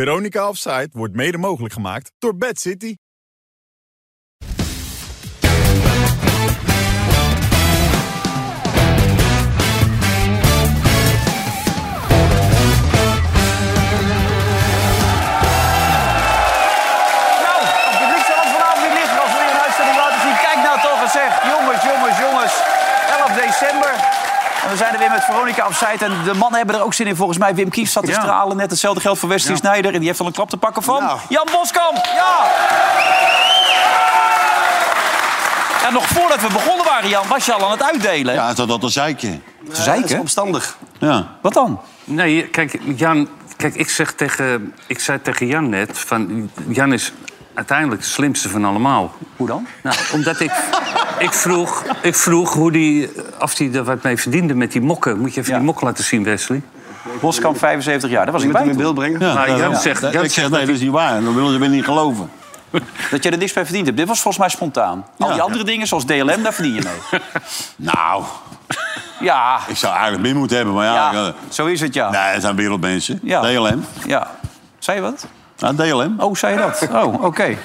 Veronica Offside wordt mede mogelijk gemaakt door Bad City. Nou, op de publiek zal het vanavond weer liggen als we weer een uitzending laten zien. Kijk nou toch en zeg, jongens, jongens, jongens. 11 december. En we zijn er weer met Veronica Offside. En de mannen hebben er ook zin in. Volgens mij, Wim Kief staat te Ja. stralen. Net hetzelfde geldt voor Wesley Snijder. En die heeft al een klap te pakken van Nou. Jan Boskamp. Ja! En nog voordat we begonnen waren, Jan, was je al aan het uitdelen. Ja, dat dat een zeikje. Zeker. Omstandig. Ja. Wat dan? Nee, kijk, Jan, kijk ik, zeg tegen, ik zei tegen Jan net... Van, Jan is uiteindelijk de slimste van allemaal. Hoe dan? Nou, omdat ik, ik, vroeg, ik vroeg hoe die, of die er wat mee verdiende met die mokken. Moet je even Ja. die mokken laten zien, Wesley? Boskamp, 75 jaar. Daar was ik Moet bij hem in toen. beeld brengen? Ja. Maar Jan zegt- Jan ik zeg, zegt nee, dat is niet waar. Dan willen ze weer niet geloven. Dat je er niks mee verdiend hebt. Dit was volgens mij spontaan. Al die Ja. andere dingen, zoals DLM, daar verdien je mee. Nou, Ja, ik zou eigenlijk meer moeten hebben, maar ja... ja, ik, eh, zo is het, ja. Nee, het zijn wereldmensen. Ja. DLM. Ja. Zei je wat? Ja, DLM. Oh, zei je dat? Oh, oké.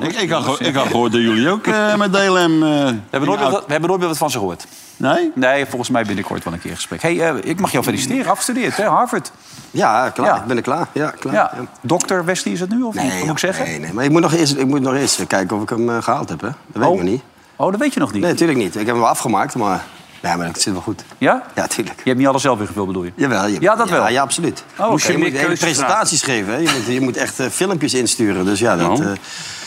Ik, ik, had, geho- ik had gehoord dat jullie ook eh, met DLM... eh, We, hebben nooit in- meer wat- we hebben nooit meer wat van ze gehoord. Nee? Nee, volgens mij binnenkort wel een keer een gesprek. hey, eh, ik mag jou feliciteren. Afgestudeerd, hè? Harvard. Ja, klaar. Ja. Ik ben er klaar. Ja, klaar. Ja. Ja. Dokter Wesley is het nu, of niet? Wat moet ik zeggen? Nee, nee, maar ik moet nog eerst, ik moet nog eerst kijken of ik hem eh, gehaald heb, hè. Dat weet ik nog niet. Oh, dat weet je nog niet. Nee, natuurlijk niet. Ik heb hem wel afgemaakt, maar... Nee, maar dat zit wel goed. Ja? Ja, tuurlijk. Je hebt niet alles zelf ingevuld, bedoel je? Jawel. je- Ja, dat wel. Ja, absoluut. Oh, oké. je moet meer hele keuzes presentaties geven, hè. Je moet, je moet echt eh, filmpjes insturen. Dus ja, dat... eh Nou,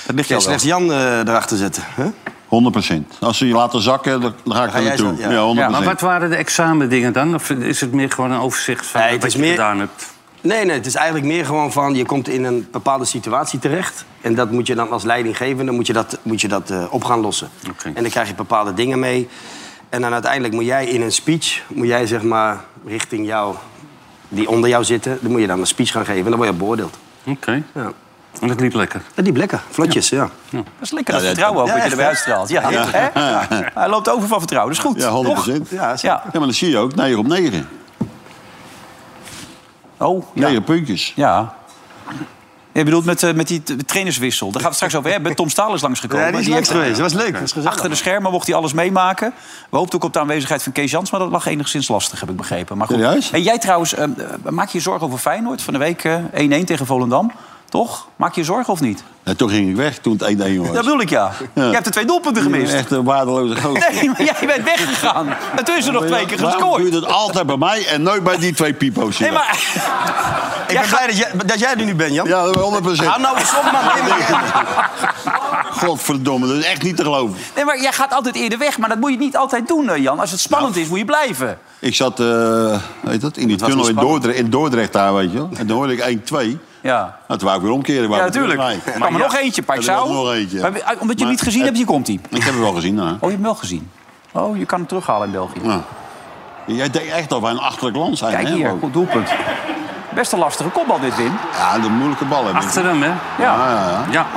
Dat ligt jou kun je wel. slechts Jan eh, erachter zetten, hè? 100%. Als ze je laten zakken, dan, dan ga ik ga er jij naartoe. zo- ja. Ja, 100%. Ah, Ja, Maar wat waren de examendingen dan? Of is het meer gewoon een overzicht van Nee, het wat is je meer- gedaan hebt? Nee, nee, het is eigenlijk meer gewoon van... je komt in een bepaalde situatie terecht... en dat moet je dan als leidinggevende moet je dat, moet je dat, eh, op gaan lossen. Oké. En dan krijg je bepaalde dingen mee. En dan uiteindelijk moet jij in een speech... moet jij zeg maar richting jou, die onder jou zitten... dan moet je dan een speech gaan geven en dan word je beoordeeld. Oké. Ja. En dat liep lekker. En die blikken, vlotjes, ja. Dat is lekker, dat Ja, dat- vertrouwen ook ja, dat je echt, erbij hè? uitstraalt. Ja, hè? Hij loopt over van vertrouwen, dat is goed. Ja, 100%. Ja, zeker. Ja. Ja, maar dan zie je ook 9 op 9. Oh, ja. 9 puntjes. Ja. Je bedoelt met, eh, met die t- trainerswissel. Daar gaan we het straks over hebben. Tom Staal is langsgekomen. Ja, die is langs heeft- geweest. Dat was leuk. Dat was gezellig. Achter de schermen mocht hij alles meemaken. We hoopten ook op de aanwezigheid van Kees Jans, maar dat lag enigszins lastig, heb ik begrepen. Maar goed. Serieus? En jij trouwens, eh, eh, maak je je zorgen over Feyenoord? Van de week eh, 1-1 tegen Volendam. Toch? Maak je je zorgen of niet? En toen ging ik weg toen het 1-1 was. Dat bedoel ik, ja. Ja. Je hebt de twee doelpunten gemist. Echt een waardeloze goot. Nee, maar jij bent weggegaan. En toen is er nog twee keer Waarom gescoord. doe je dat altijd bij mij en nooit bij die twee pipo's? hier? Nee, maar... Ik ben blij dat jij, dat jij er nu bent, Jan. Ja, 100 Hou nou eens op, man. Nee, maar- nou- Godverdomme, dat is echt niet te geloven. Nee, maar jij gaat altijd eerder weg, maar dat moet je niet altijd doen, eh, Jan. Als het spannend is, moet je blijven. Ik zat eh, weet dat, in die was tunnel in wel Dordrecht, in Dordrecht daar, weet je wel. En dan hoorde ik 1-2. Nou, Ja. toen wou ik weer omkeren. wou Ja, ik weer natuurlijk. terug. Er Nee. kwam er nog eentje, Pak Er Zou. was nog eentje. Maar, eh, omdat je hem Maar- niet gezien hebt, hier komt hij. Ik heb het wel gezien, hè. Oh, je hebt hem wel gezien. Oh, je kan hem terughalen in België. Ja. Jij denkt echt dat wij een achterlijk land zijn, Kijk hè? hier, ook. goed doelpunt. Best een lastige kopbal dit, Wim. Ja, de moeilijke bal hebben. Achter hem, hè? Ja. Ja, ja, ja. Ja.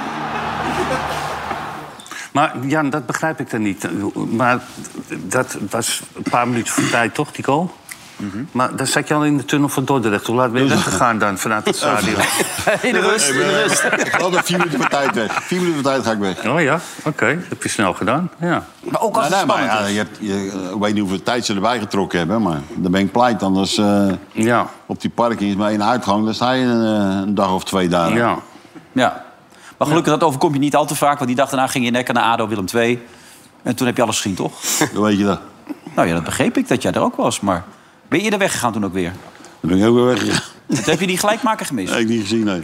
Maar Jan, dat begrijp ik dan niet. Maar dat was een paar minuten voor tijd, toch, die goal? Maar dan zat je al in de tunnel van Dordrecht. Hoe laat ben je weggegaan dan vanuit het stadion? In de rust. Ik ben, eh, Ik had nog vier minuten van tijd weg. Vier minuten van tijd ga ik weg. Oh ja, oké. Dat heb je snel gedaan. Ja. Maar ook als Nou, het nee, maar spannend ja, is. je hebt, je, ik weet niet hoeveel tijd ze erbij getrokken hebben, maar dan ben ik pleit. Anders eh, Ja. op die parking is maar één uitgang, dan sta je een, eh, een dag of twee daar. ja. Ja. Maar gelukkig, dat overkom je niet al te vaak. Want die dag daarna ging je nekken naar ADO Willem II. En toen heb je alles gezien, toch? Dan weet je dat. Nou ja, dat begreep ik, dat jij er ook was. Maar ben je eerder weggegaan toen ook weer? Dan ben ik ook weer weggegaan. Dat heb je die gelijkmaker gemist. Nee, ik niet gezien, nee.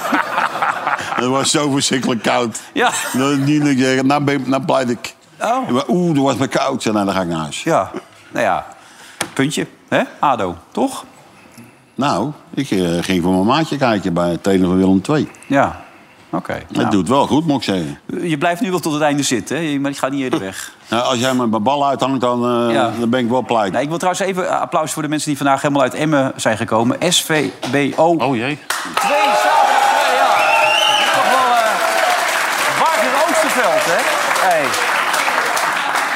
Het was zo verschrikkelijk koud. Ja. Dat ik niet, dat ik zeg, nou, ben, nou pleit ik. Oh. Maar Oeh, dat was me koud. Ik zei, nou, dan ga ik naar huis. Ja, nou ja, puntje, hè? ADO, toch? Nou, ik eh, ging voor mijn maatje kijken bij het trainen van Willem II. Ja, oké. nou. Het doet wel goed, moet ik zeggen. Je blijft nu wel tot het einde zitten, hè? Je- maar je gaat niet eerder weg. Nou, als jij me mijn bal uithangt, dan, eh, Ja. dan ben ik wel pleit. Nee, ik wil trouwens even eh, applaus voor de mensen die vandaag helemaal uit Emmen zijn gekomen. SVBO Oh jee. 2, zaterdag 2, ja. Dat is Toch wel eh Wagner Oosterveld, hè? Hey.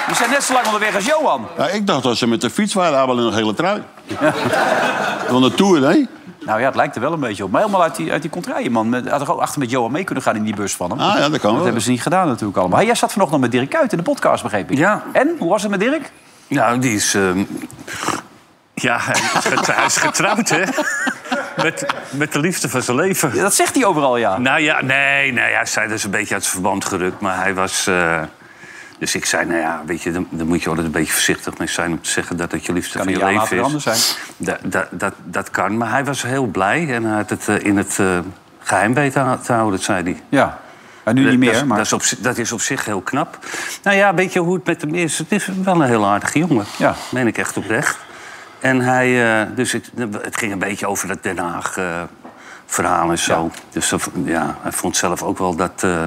Die zijn net zo lang onderweg als Johan. Ja, ik dacht dat ze met de fiets waren, daar wel in een gele trui. Van de Tour, hè? Nou ja, het lijkt er wel een beetje op. Maar helemaal uit die, uit die contraille, man. Met, had er ook achter met Johan mee kunnen gaan in die bus van hem. Ah ja, dat kan dat wel. hebben ze niet gedaan natuurlijk allemaal. Hey, jij zat vanochtend met Dirk Kuyt in de podcast, begreep ik. Ja. En, hoe was het met Dirk? Nou, die is. ehm, ja, hij is, get- hij is getrouwd, hè? Met, met de liefde van zijn leven. Ja, Dat zegt hij overal, ja. Nou ja, nee, nee, hij zei dus een beetje uit het verband gerukt, maar hij was. eh, dus ik zei, nou ja, weet je, dan, dan moet je altijd een beetje voorzichtig mee zijn om te zeggen dat het je liefde Kan van een je jaar leven later is. anders zijn. Dat, dat, dat, dat kan, maar hij was heel blij en hij had het eh, in het eh, geheim weten te houden, zei hij. Ja. En nu niet Eh, Dat- meer, dat, is- maar... dat, is op, zi- dat is op zich heel knap. Nou ja, weet je hoe het met hem is? Het is wel een heel aardige jongen. Ja. Meen ik echt oprecht. En hij... eh, dus het, het ging een beetje over dat Den Haag... eh, verhaal en zo. Dus dat- ja, hij vond zelf ook wel dat... eh,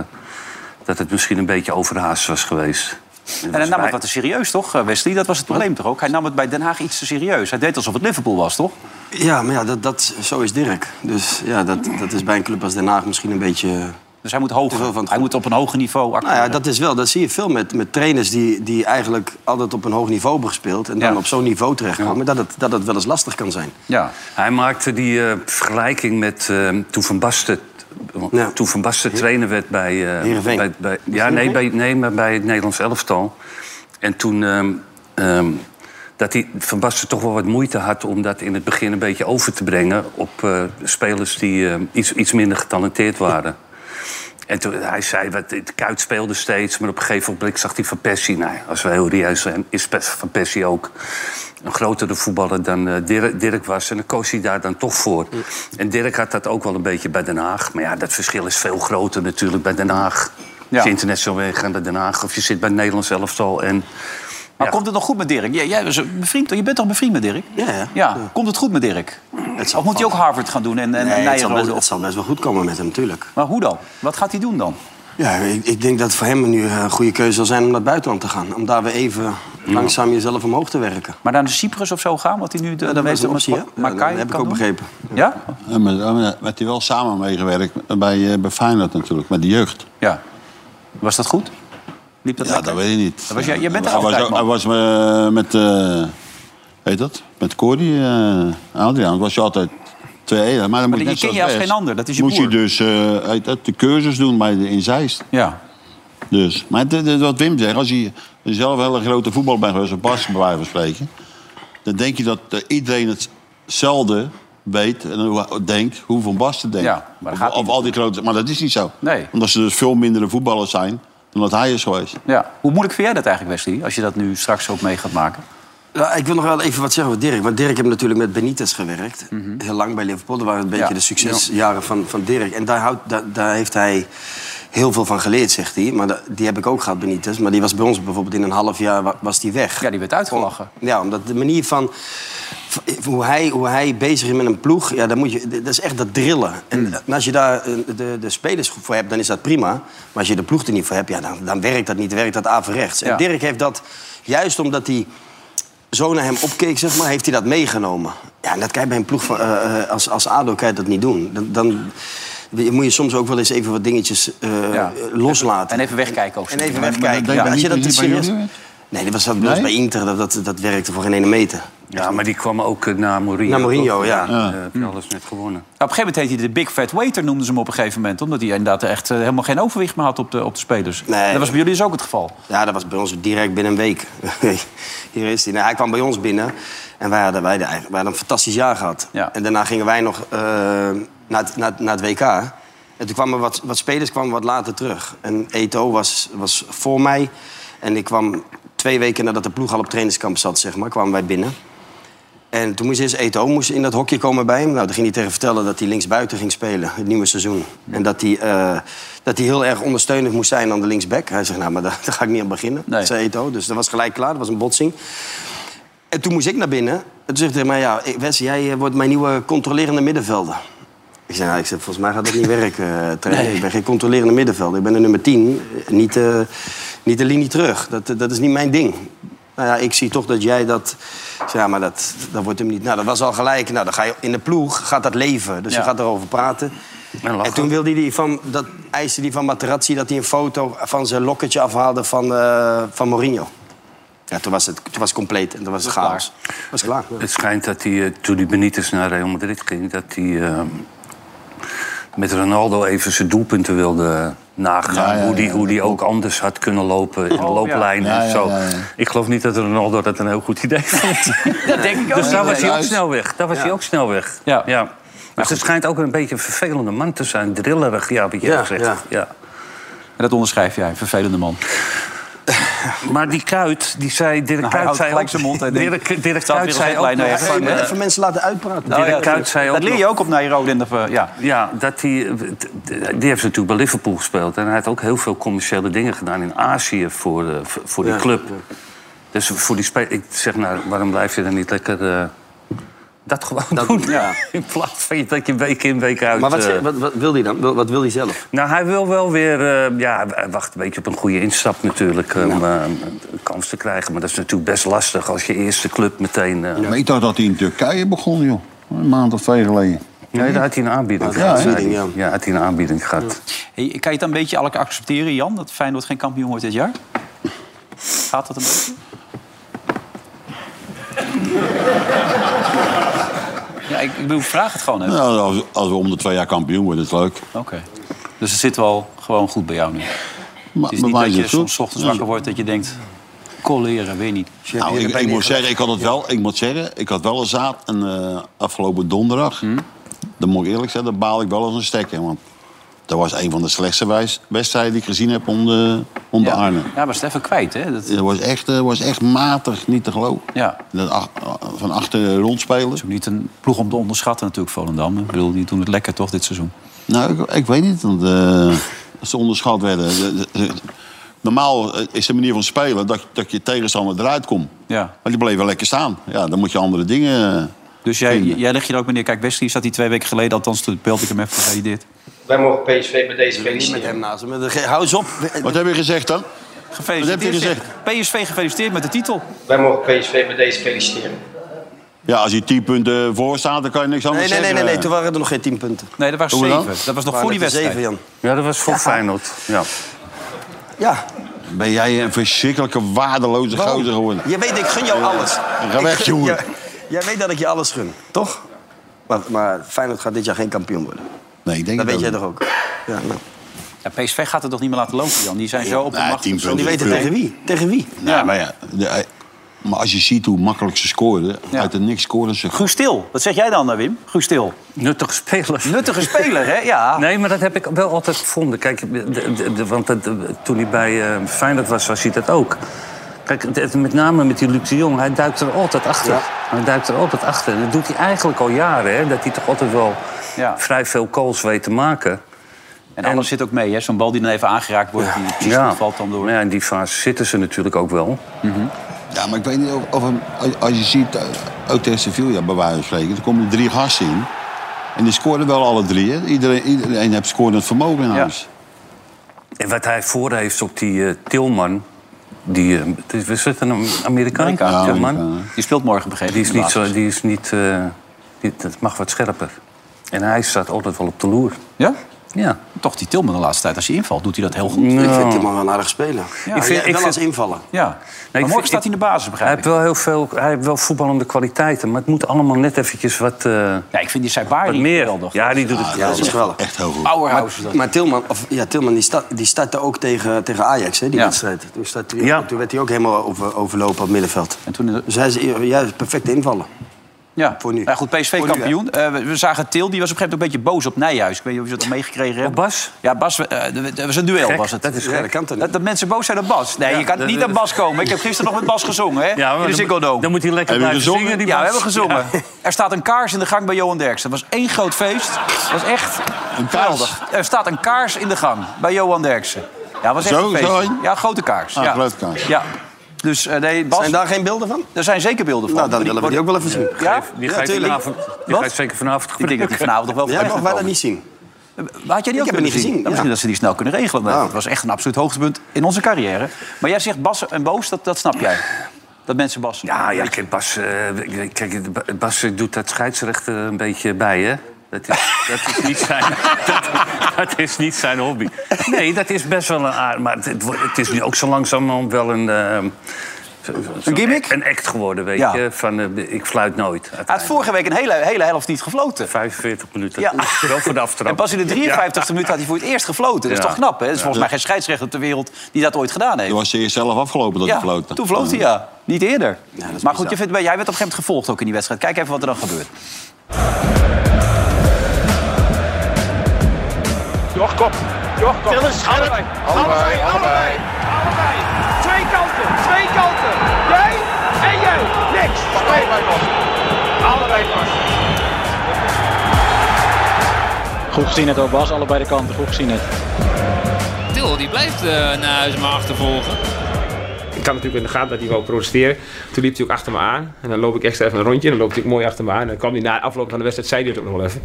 dat het misschien een beetje overhaast was geweest. Dus En hij nam het wat te serieus, toch, eh, Wesley? Dat was het probleem toch ook? Hij nam het bij Den Haag iets te serieus. Hij deed alsof het Liverpool was, toch? Ja, maar ja, dat, dat, zo is Dirk. Dus ja, dat, dat is bij een club als Den Haag misschien een beetje... Dus hij moet hoger. Te veel van het Hij goed. moet op een hoger niveau acteren. Nou ja, dat is wel. Dat zie je veel met, met trainers die, die eigenlijk altijd op een hoog niveau hebben gespeeld... en dan Ja. op zo'n niveau terechtkomen, dat, het, dat het wel eens lastig kan zijn. Ja. Hij maakte die eh, vergelijking met eh, toen Van Basten... Ja. Toen Van Basten trainer werd bij... eh Heerenveen. bij, bij- ja, nee, bij, Heerenveen? nee, maar bij het Nederlands elftal. En toen... ehm, ehm, dat hij, Van Basten toch wel wat moeite had om dat in het begin een beetje over te brengen... op eh, spelers die ehm, iets, iets minder getalenteerd waren. En toen, hij zei, wat, het Kuit speelde steeds, maar op een gegeven moment zag hij Van Persie. Nou, ja, als we heel reëel zijn, is Pe- Van Persie ook een grotere voetballer dan eh, Dirk, Dirk was. En dan koos hij daar dan toch voor. En Dirk had dat ook wel een beetje bij Den Haag. Maar ja, dat verschil is veel groter natuurlijk bij Den Haag. Ja. Als je internationaal weggaat naar Den Haag of je zit bij het Nederlands elftal. En Maar Ja. komt het nog goed met Dirk? Jij, jij was bevriend, je bent toch bevriend met Dirk? Ja, ja. Komt het goed met Dirk? Het zal Of moet hij ook vast- Harvard gaan doen en, en Nee, het, zal Nijrode? best, het zal best wel goed komen met hem, natuurlijk. Maar hoe dan? Wat gaat hij doen dan? Ja, ik, ik denk dat het voor hem nu eh, een goede keuze zal zijn om naar het buitenland te gaan. Om daar weer even langzaam jezelf omhoog te werken. Maar naar de Cyprus of zo gaan? Wat hij nu de, de Ja, dat was meeste een optie, hè? Mar- Marokkaan Ja, dat heb ik kan ook doen? begrepen. Ja? En met, en met- met die wel samen meegewerkt bij, eh bij Feyenoord natuurlijk, met de jeugd. Ja. Was dat goed? Liep dat Ja, lekker? dat weet ik niet. Dat was jij- jij bent er Hij was altijd, ook- Hij was eh, met, eh weet dat? Met Cordy, eh, Adriaan, was je altijd twee maar dan moet die net ken je zoals als West, geen ander, dat is je Moest broer. je dus eh, weet dat, de cursus doen bij de, in Zeist. Ja. Dus. Maar het- het- wat Wim zegt, als je zelf een hele grote voetballer bent geweest, een Bas bij wijze van spreken, dan denk je dat eh, iedereen hetzelfde weet en hoe- denkt hoe Van Basten denkt. Ja, maar dat Of- gaat of, niet al die grote, maar dat is niet zo. Nee. Omdat ze dus veel mindere voetballers zijn dan dat hij is geweest. ja. Hoe moeilijk vind jij dat eigenlijk, Wesley? Als je dat nu straks ook mee gaat maken? Ja, ik wil nog wel even wat zeggen over Dirk. Want Dirk heeft natuurlijk met Benitez gewerkt. Heel lang bij Liverpool. Dat waren een beetje Mhm. Ja. de succesjaren van, van Dirk. En daar, houdt, daar, daar heeft hij heel veel van geleerd, zegt hij. Maar da- die heb ik ook gehad, Benitez. Maar die was bij ons bijvoorbeeld in een half jaar wa- was die weg. Ja, die werd uitgelachen. Ja, omdat de manier van... van- Hoe hij, hoe hij bezig is met een ploeg, ja, dan moet je, dat is echt dat drillen. En, Mm. en als je daar eh, de, de spelers voor hebt, dan is dat prima. Maar als je de ploeg er niet voor hebt, ja, dan, dan werkt dat niet. Dan werkt dat averechts. Ja. En Dirk heeft dat, juist omdat hij zo naar hem opkeek, zeg maar, heeft hij dat meegenomen. Ja, en dat kan je bij een ploeg van, eh, eh, als, als ADO kan je dat niet doen. Dan, dan moet je soms ook wel eens even wat dingetjes eh, Ja. loslaten. En even wegkijken ook. En even maar dat wegkijken. deed Ja, als je Benitez dat te niet bij serieus... jullie? Nee, dat was dat was Nee? bij Inter. Dat, dat, dat werkte voor geen ene meter. ja, maar die kwam ook eh, naar Mourinho. Naar Mourinho, toch? ja. Ja, eh, heb je alles net gewonnen. Nou, op een gegeven moment heette hij de Big Fat Waiter, noemden ze hem op een gegeven moment. Omdat hij inderdaad echt eh, helemaal geen overwicht meer had op de, op de spelers. Nee. Dat was bij jullie dus ook het geval. Ja, dat was bij ons direct binnen een week. Hier is hij. Nou, hij kwam bij ons binnen. En wij hadden, wij de- wij hadden een fantastisch jaar gehad. Ja. En daarna gingen wij nog eh, naar, het, naar, het- naar het WK. En toen kwamen wat, wat spelers kwamen wat later terug. En Eto was, was voor mij. En ik kwam twee weken nadat de ploeg al op trainingskamp zat, zeg maar, kwamen wij binnen. En toen moest eerst Eto moest in dat hokje komen bij hem. Nou, toen ging hij tegen vertellen dat hij linksbuiten ging spelen, het nieuwe seizoen. En dat hij, eh, dat hij heel erg ondersteunend moest zijn aan de linksback. Hij zegt, nou, maar daar, daar ga ik niet aan beginnen, Nee. zei Eto. Dus dat was gelijk klaar, dat was een botsing. En toen moest ik naar binnen. En toen zegt hij, maar ja, Wes, jij eh, wordt mijn nieuwe controlerende middenvelder. Ik zei, nou, ik zei, volgens mij gaat dat niet werken, eh, trainer. Ik ben geen controlerende middenvelder. Ik ben een nummer 10, eh, niet, eh, niet de linie terug. Dat, eh, dat is niet mijn ding. Nou ja, ik zie toch dat jij dat... Ik zei, ja, maar dat, dat wordt hem niet... Nou, dat was al gelijk. Nou, dan ga je, in de ploeg gaat dat leven. Dus Ja. je gaat erover praten. En lachen. En toen wilde hij die van, dat eiste hij van Materazzi dat hij een foto van zijn lokketje afhaalde van, eh, van Mourinho. Ja, toen was het, toen was het compleet en toen was het chaos. was klaar. ja. Het schijnt dat hij, eh, toen die Benitez naar Real Madrid ging... dat hij eh, met Ronaldo even zijn doelpunten wilde eh, nagaan. Ja, ja, hoe die, ja, hoe die ook anders had kunnen lopen in de looplijn Ja, en ja, zo. ja, ja. Ik geloof niet dat Ronaldo dat een heel goed idee vond. Dat denk ik ook. dus daar was hij ook juist. snel weg. Daar was hij ook snel weg. Ja. Dus het schijnt ook een beetje een vervelende man te zijn. Drillerig, ja, wat je Ja, al zegt. ja. ja. En dat onderschrijf jij, vervelende man. Maar die Kuit, die zei... Dirk Nou, hij Kuyt houdt zei gelijk ook- zijn mond, hij denkt, Dirk, Dirk staat Kuyt weer een zei ook headline nog ergens. van, Even, eh, even mensen laten uitpraten. Dirk ja, Kuyt zei dat ook leer je ook op Nairobi. En de, ver- ja. Ja, dat die, die heeft natuurlijk bij Liverpool gespeeld. En hij heeft ook heel veel commerciële dingen gedaan in Azië voor, eh, voor- voor die Ja, club. Dus voor die spe- Ik zeg nou, waarom blijf je dan niet lekker eh, dat gewoon doen? ja. In plaats van dat je week in, week uit... Maar wat, eh, ze- wat, wat wil hij dan? Wil- Wat wil hij zelf? nou, hij wil wel weer... eh, ja, hij wacht een beetje op een goede instap natuurlijk... om eh, een kans te krijgen. Maar dat is natuurlijk best lastig als je eerste club meteen... eh, Maar ik dacht dat hij in Turkije begon, joh. Een maand of twee geleden. Nee, daar had hij een aanbieding Ja, gehad. hè? zei hij. Aanbieding, Ja, had hij een aanbieding gehad. Hey, kan je het dan een beetje alle- accepteren, Jan? Dat Feyenoord geen kampioen wordt dit jaar? Gaat dat een beetje? ja, ik, ik bedoel, ik vraag het gewoon even. Nou, als, als we om de twee jaar kampioen worden, is het leuk. Oké. Dus het zit wel gewoon goed bij jou nu. Het Maar, is bij niet mij dat je het goed. soms 's ochtends wakker wordt dat je denkt... Colleren, weet niet. Nou, ik, ik moet zeggen, ik had het wel. Ik moet zeggen, ik had wel een zaad en, eh, afgelopen donderdag. Hmm. Dan moet ik eerlijk zeggen, daar baal ik wel eens een stekker. Want dat was een van de slechtste wijs- wedstrijden die ik gezien heb onder, onder ja. Arnhem. Ja, maar Stefan kwijt, hè? Dat, Dat was echt, eh, was echt matig, niet te geloven. Ja. Dat ach- van achter rondspelen. niet een ploeg om te onderschatten natuurlijk, Volendam. Ik bedoel, die doen het lekker toch dit seizoen? Nou, ik, ik weet niet. Want, eh, ze onderschat werden. De- de- de- normaal eh, is de manier van spelen dat, dat je tegenstander eruit komt. Ja. Maar die bleven lekker staan. Ja, dan moet je andere dingen... eh, Dus jij, Vinden. jij legt je er ook meneer Kijk, Wesley zat die twee weken geleden... althans, toen belde ik hem even, zei hij dit. Wij mogen PSV bij deze Niet met feliciteren. hem naast hem. Ge- Hou eens op. Wat heb je gezegd dan? Gefeliciteerd. Wat heeft hij zeg. PSV gefeliciteerd met de titel. Wij mogen PSV bij deze feliciteren. Ja, als je 10 punten voor staat, dan kan je niks Nee, anders nee, nee, zeggen. nee, nee. Toen waren er nog geen tien punten. Nee, dat waren Hoe zeven. dan? Dat was nog Waren voor die het er wedstrijd. Zeven, Jan. Ja, dat was voor Feyenoord. Ja. Ja. Ben jij een verschrikkelijke waardeloze gozer geworden. Je weet, ik gun jou alles. Ik weg, gun- jongen. Ja, Jij weet dat ik je alles gun, toch? Maar, maar Feyenoord gaat dit jaar geen kampioen worden. Nee, ik denk Dat het weet jij ook toch ook? Ja, nou. Ja, PSV gaat het toch niet meer laten lopen, Jan? Die zijn zo op de nee, macht. tien punten. Die weten Ja. tegen wie? Tegen wie? niet. Nee, maar ja. de- eh, maar als je ziet hoe makkelijk ze scoorden, Ja. uit de niks scoorden ze. Guus Stil. Wat zeg jij dan, eh, Wim? Guus Stil. Nuttige spelers. Nuttige speler, hè? Ja. Nee, maar dat heb ik wel altijd gevonden. Kijk, de- de- de- want dat- de- toen hij bij eh Feyenoord was, was hij dat ook. Kijk, het- het- met name met die Luc de Jong, hij duikt er altijd achter. Hij duikt er altijd achter. En dat doet hij eigenlijk al jaren, hè. Dat hij toch altijd wel Ja. vrij veel calls weet te maken. En alles zit ook mee, hè? Zo'n bal die dan even aangeraakt wordt, die precies goed valt dan door. Maar ja, in die fase zitten ze natuurlijk ook wel. Ja, maar ik weet niet of, of hem- als- als je ziet, eh, ook tegen Sevilla bij wijze van spreken, er komen drie gasten in. En die scoorden wel alle drie. Hè? Iedereen, iedereen heeft scorend vermogen in huis. En wat hij voor heeft op die eh, Tilman... Die, eh, het is- is het een Amerikaan? Amerikaan, ja. Tilman. Amerikaan. Die speelt morgen begrepen. Die is in de niet zo, basis. die is niet, eh, die, dat mag wat scherper. En hij staat altijd wel op de loer. Ja? Ja. Toch die Tilman de laatste tijd. Als hij invalt, doet hij dat heel goed. Ik Nou. vind die man wel een aardig speler. ik ik vind- vind, ik wel vind- als invallen. Ja. maar morgen vind- staat hij in de basis, Hij begrijp ik. heeft wel heel veel, hij heeft wel voetballende kwaliteiten, maar het moet allemaal net eventjes wat, eh, Ja, ik vind die wat Saibari meer. geweldig. Ja, die doet Ah, het. Ja, dat is geweldig. Echt heel goed. Powerhouse. is dat. Maar Tilman, of, ja, Tilman die, sta, die startte ook tegen, tegen Ajax, hè, die Ja. wedstrijd. Toen, startte hij- Ja. toen werd hij ook helemaal over, overlopen op het middenveld. En toen... in de- Dus hij is juist perfect invallen. Ja, Voor nu. Nou goed, PSV Voor nu, kampioen. Eh, we, we zagen Til, die was op een gegeven moment een beetje boos op Nijhuis. Ik weet niet of je dat meegekregen hebt. Op Bas? Ja, Bas, eh, d- d- dat was een duel Gek, was het. dat is Ja, gek. dat kan toch niet? Dat, dat mensen boos zijn op Bas. Nee, je kan dat- niet dat- aan Bas komen. Ik heb gisteren nog met Bas gezongen, hè? Ja, maar in de dan- Ziggo Dome. Dan moet hij lekker Heb je blijven gezongen? zingen, die Ja, we Bas. hebben gezongen. Ja. Er staat een kaars in de gang bij Johan Derksen. Dat was één groot feest. Dat was echt Een kaars? geweldig. Er staat een kaars in de gang bij Johan Derksen. Ja, was echt Zo, een feest. zo een? Ja, grote kaars. Ah, ja. grote kaars. Ja. Dus eh, nee, Bas, Zijn daar geen beelden van? daar zijn zeker beelden van. Maar Nou, dan die willen we die ook wel even zien. worden- Ja? Die ga je tuurlijk. vanavond, die Wat? ga je zeker vanavond Ik denk dat die gebruiken. vanavond nog wel Ja, voorbij mag gaat wij dat komen. niet zien? Had jij die ook Ik heb hem kunnen niet gezien, Nou, ja. Nou. Misschien dat ze die snel kunnen regelen. maar Ja. Het was echt een absoluut hoogtepunt in onze carrière. Maar jij zegt Bas en Boos, dat, dat snap jij. Dat mensen Bas. Ja, ja, kijk, Bas, eh, kijk, Ba- Bas doet dat scheidsrechter een beetje bij, hè? Dat is, dat is, niet, zijn, dat, dat is niet zijn hobby. Nee, dat is best wel een aard. Maar het, het wordt- het is nu ook zo langzamerhand wel een, eh, zo'n gimmick? act- Een act geworden, weet Ja. je. Van, eh, ik fluit nooit. Hij had vorige week een hele, hele helft niet gefloten. 45 minuten. Ja. Ja. Wel voor de aftrap. En pas in de 53e minuut had hij voor het eerst gefloten. Dat is Ja. toch knap, hè? Dat is volgens mij geen scheidsrechter op de wereld die dat ooit gedaan heeft. Toen was hij zelf afgelopen dat ja, hij floot. toen floot hij, ja. Niet eerder. maar goed, is je bizar. vindt, het bij- jij werd op een gegeven moment gevolgd ook in die wedstrijd. Kijk even wat er dan gebeurt. Tillis, Scherp. Allebei, allebei. Allebei. Twee kanten, twee kanten. Jij en jij. Niks. Allebei pas. Allebei pas. Goed gezien het ook Bas, allebei de kanten. Goed gezien het. Til die blijft eh Nijhuis maar achtervolgen. Ik had natuurlijk in de gaten dat hij wou protesteren. Toen liep hij ook achter me aan. En dan loop ik extra even een rondje. En dan loopt hij ook mooi achter me aan. En dan kwam hij na het afloop van de wedstrijd, zei hij het ook nog wel even.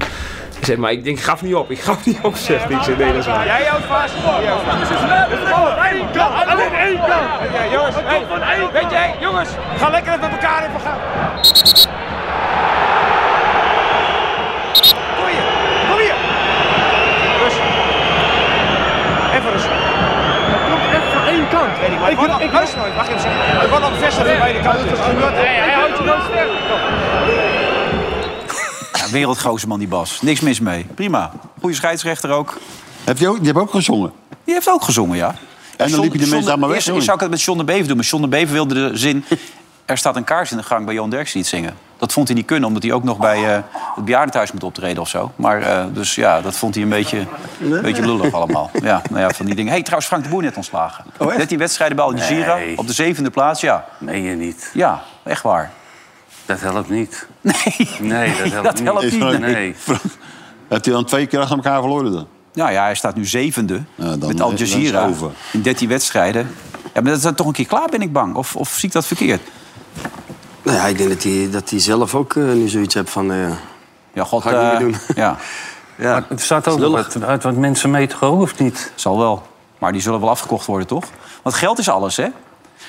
Ik zei, maar ik denk, ik gaf niet op. Ik gaf niet op, zegt hij. Ik zei, nee, dat is waar. Jij houdt vast. Alleen één kant. Alleen één kant. Ja, jongens. Hey, weet je, hey, jongens. Ga lekker even met elkaar even gaan. Kom hier. Kom hier. Rustig. Even rustig. Het komt echt van één kant. Weet ik, maar ik, ik, luister nooit. Mag je hem zeggen? Het wordt al bevestigd van beide kanten. Hij houdt je nooit sterk. Ja, wereldgrootste man die Bas. Niks mis mee. Prima. Goede scheidsrechter ook. Heb je, ook, je hebt ook gezongen. Die heeft ook gezongen, ja. dan liep je de mensen allemaal weg, Eerst jongen. zou ik het met John de Bever doen. Maar John de Bever wilde de zin... Er staat een kaars in de gang bij Johan Derksen niet zingen. Dat vond hij niet kunnen, omdat hij ook nog bij eh, het bejaardentehuis moet optreden of zo. Maar eh, dus ja, dat vond hij een beetje, een beetje lullig allemaal. Ja, nou ja, van die dingen. hey, trouwens, Frank de Boer net ontslagen. net die wedstrijden bij Al Jazeera, Oh, Nee. op de zevende plaats. Ja, Meen je niet. ja echt waar. Dat helpt niet. Nee, Nee, dat helpt niet. helpt Is niet. Frank- Nee. Heeft hij dan twee keer achter elkaar verloren dan? Nou ja, hij staat nu zevende Ja, dan- met Al dan is het Jazeera over. in 13 wedstrijden. Ja, maar dat is dan toch een keer klaar, ben ik bang. Of, of zie ik dat verkeerd? Nou ja, ik denk dat hij, dat hij zelf ook eh, nu zoiets hebt van... eh, Ja, god. Ga ik niet eh, meer doen. Ja, ja. Er staat ook nog Lullig. wat, uit wat mensen mee te horen, of niet? zal wel. Maar die zullen wel afgekocht worden, toch? Want geld is alles, hè?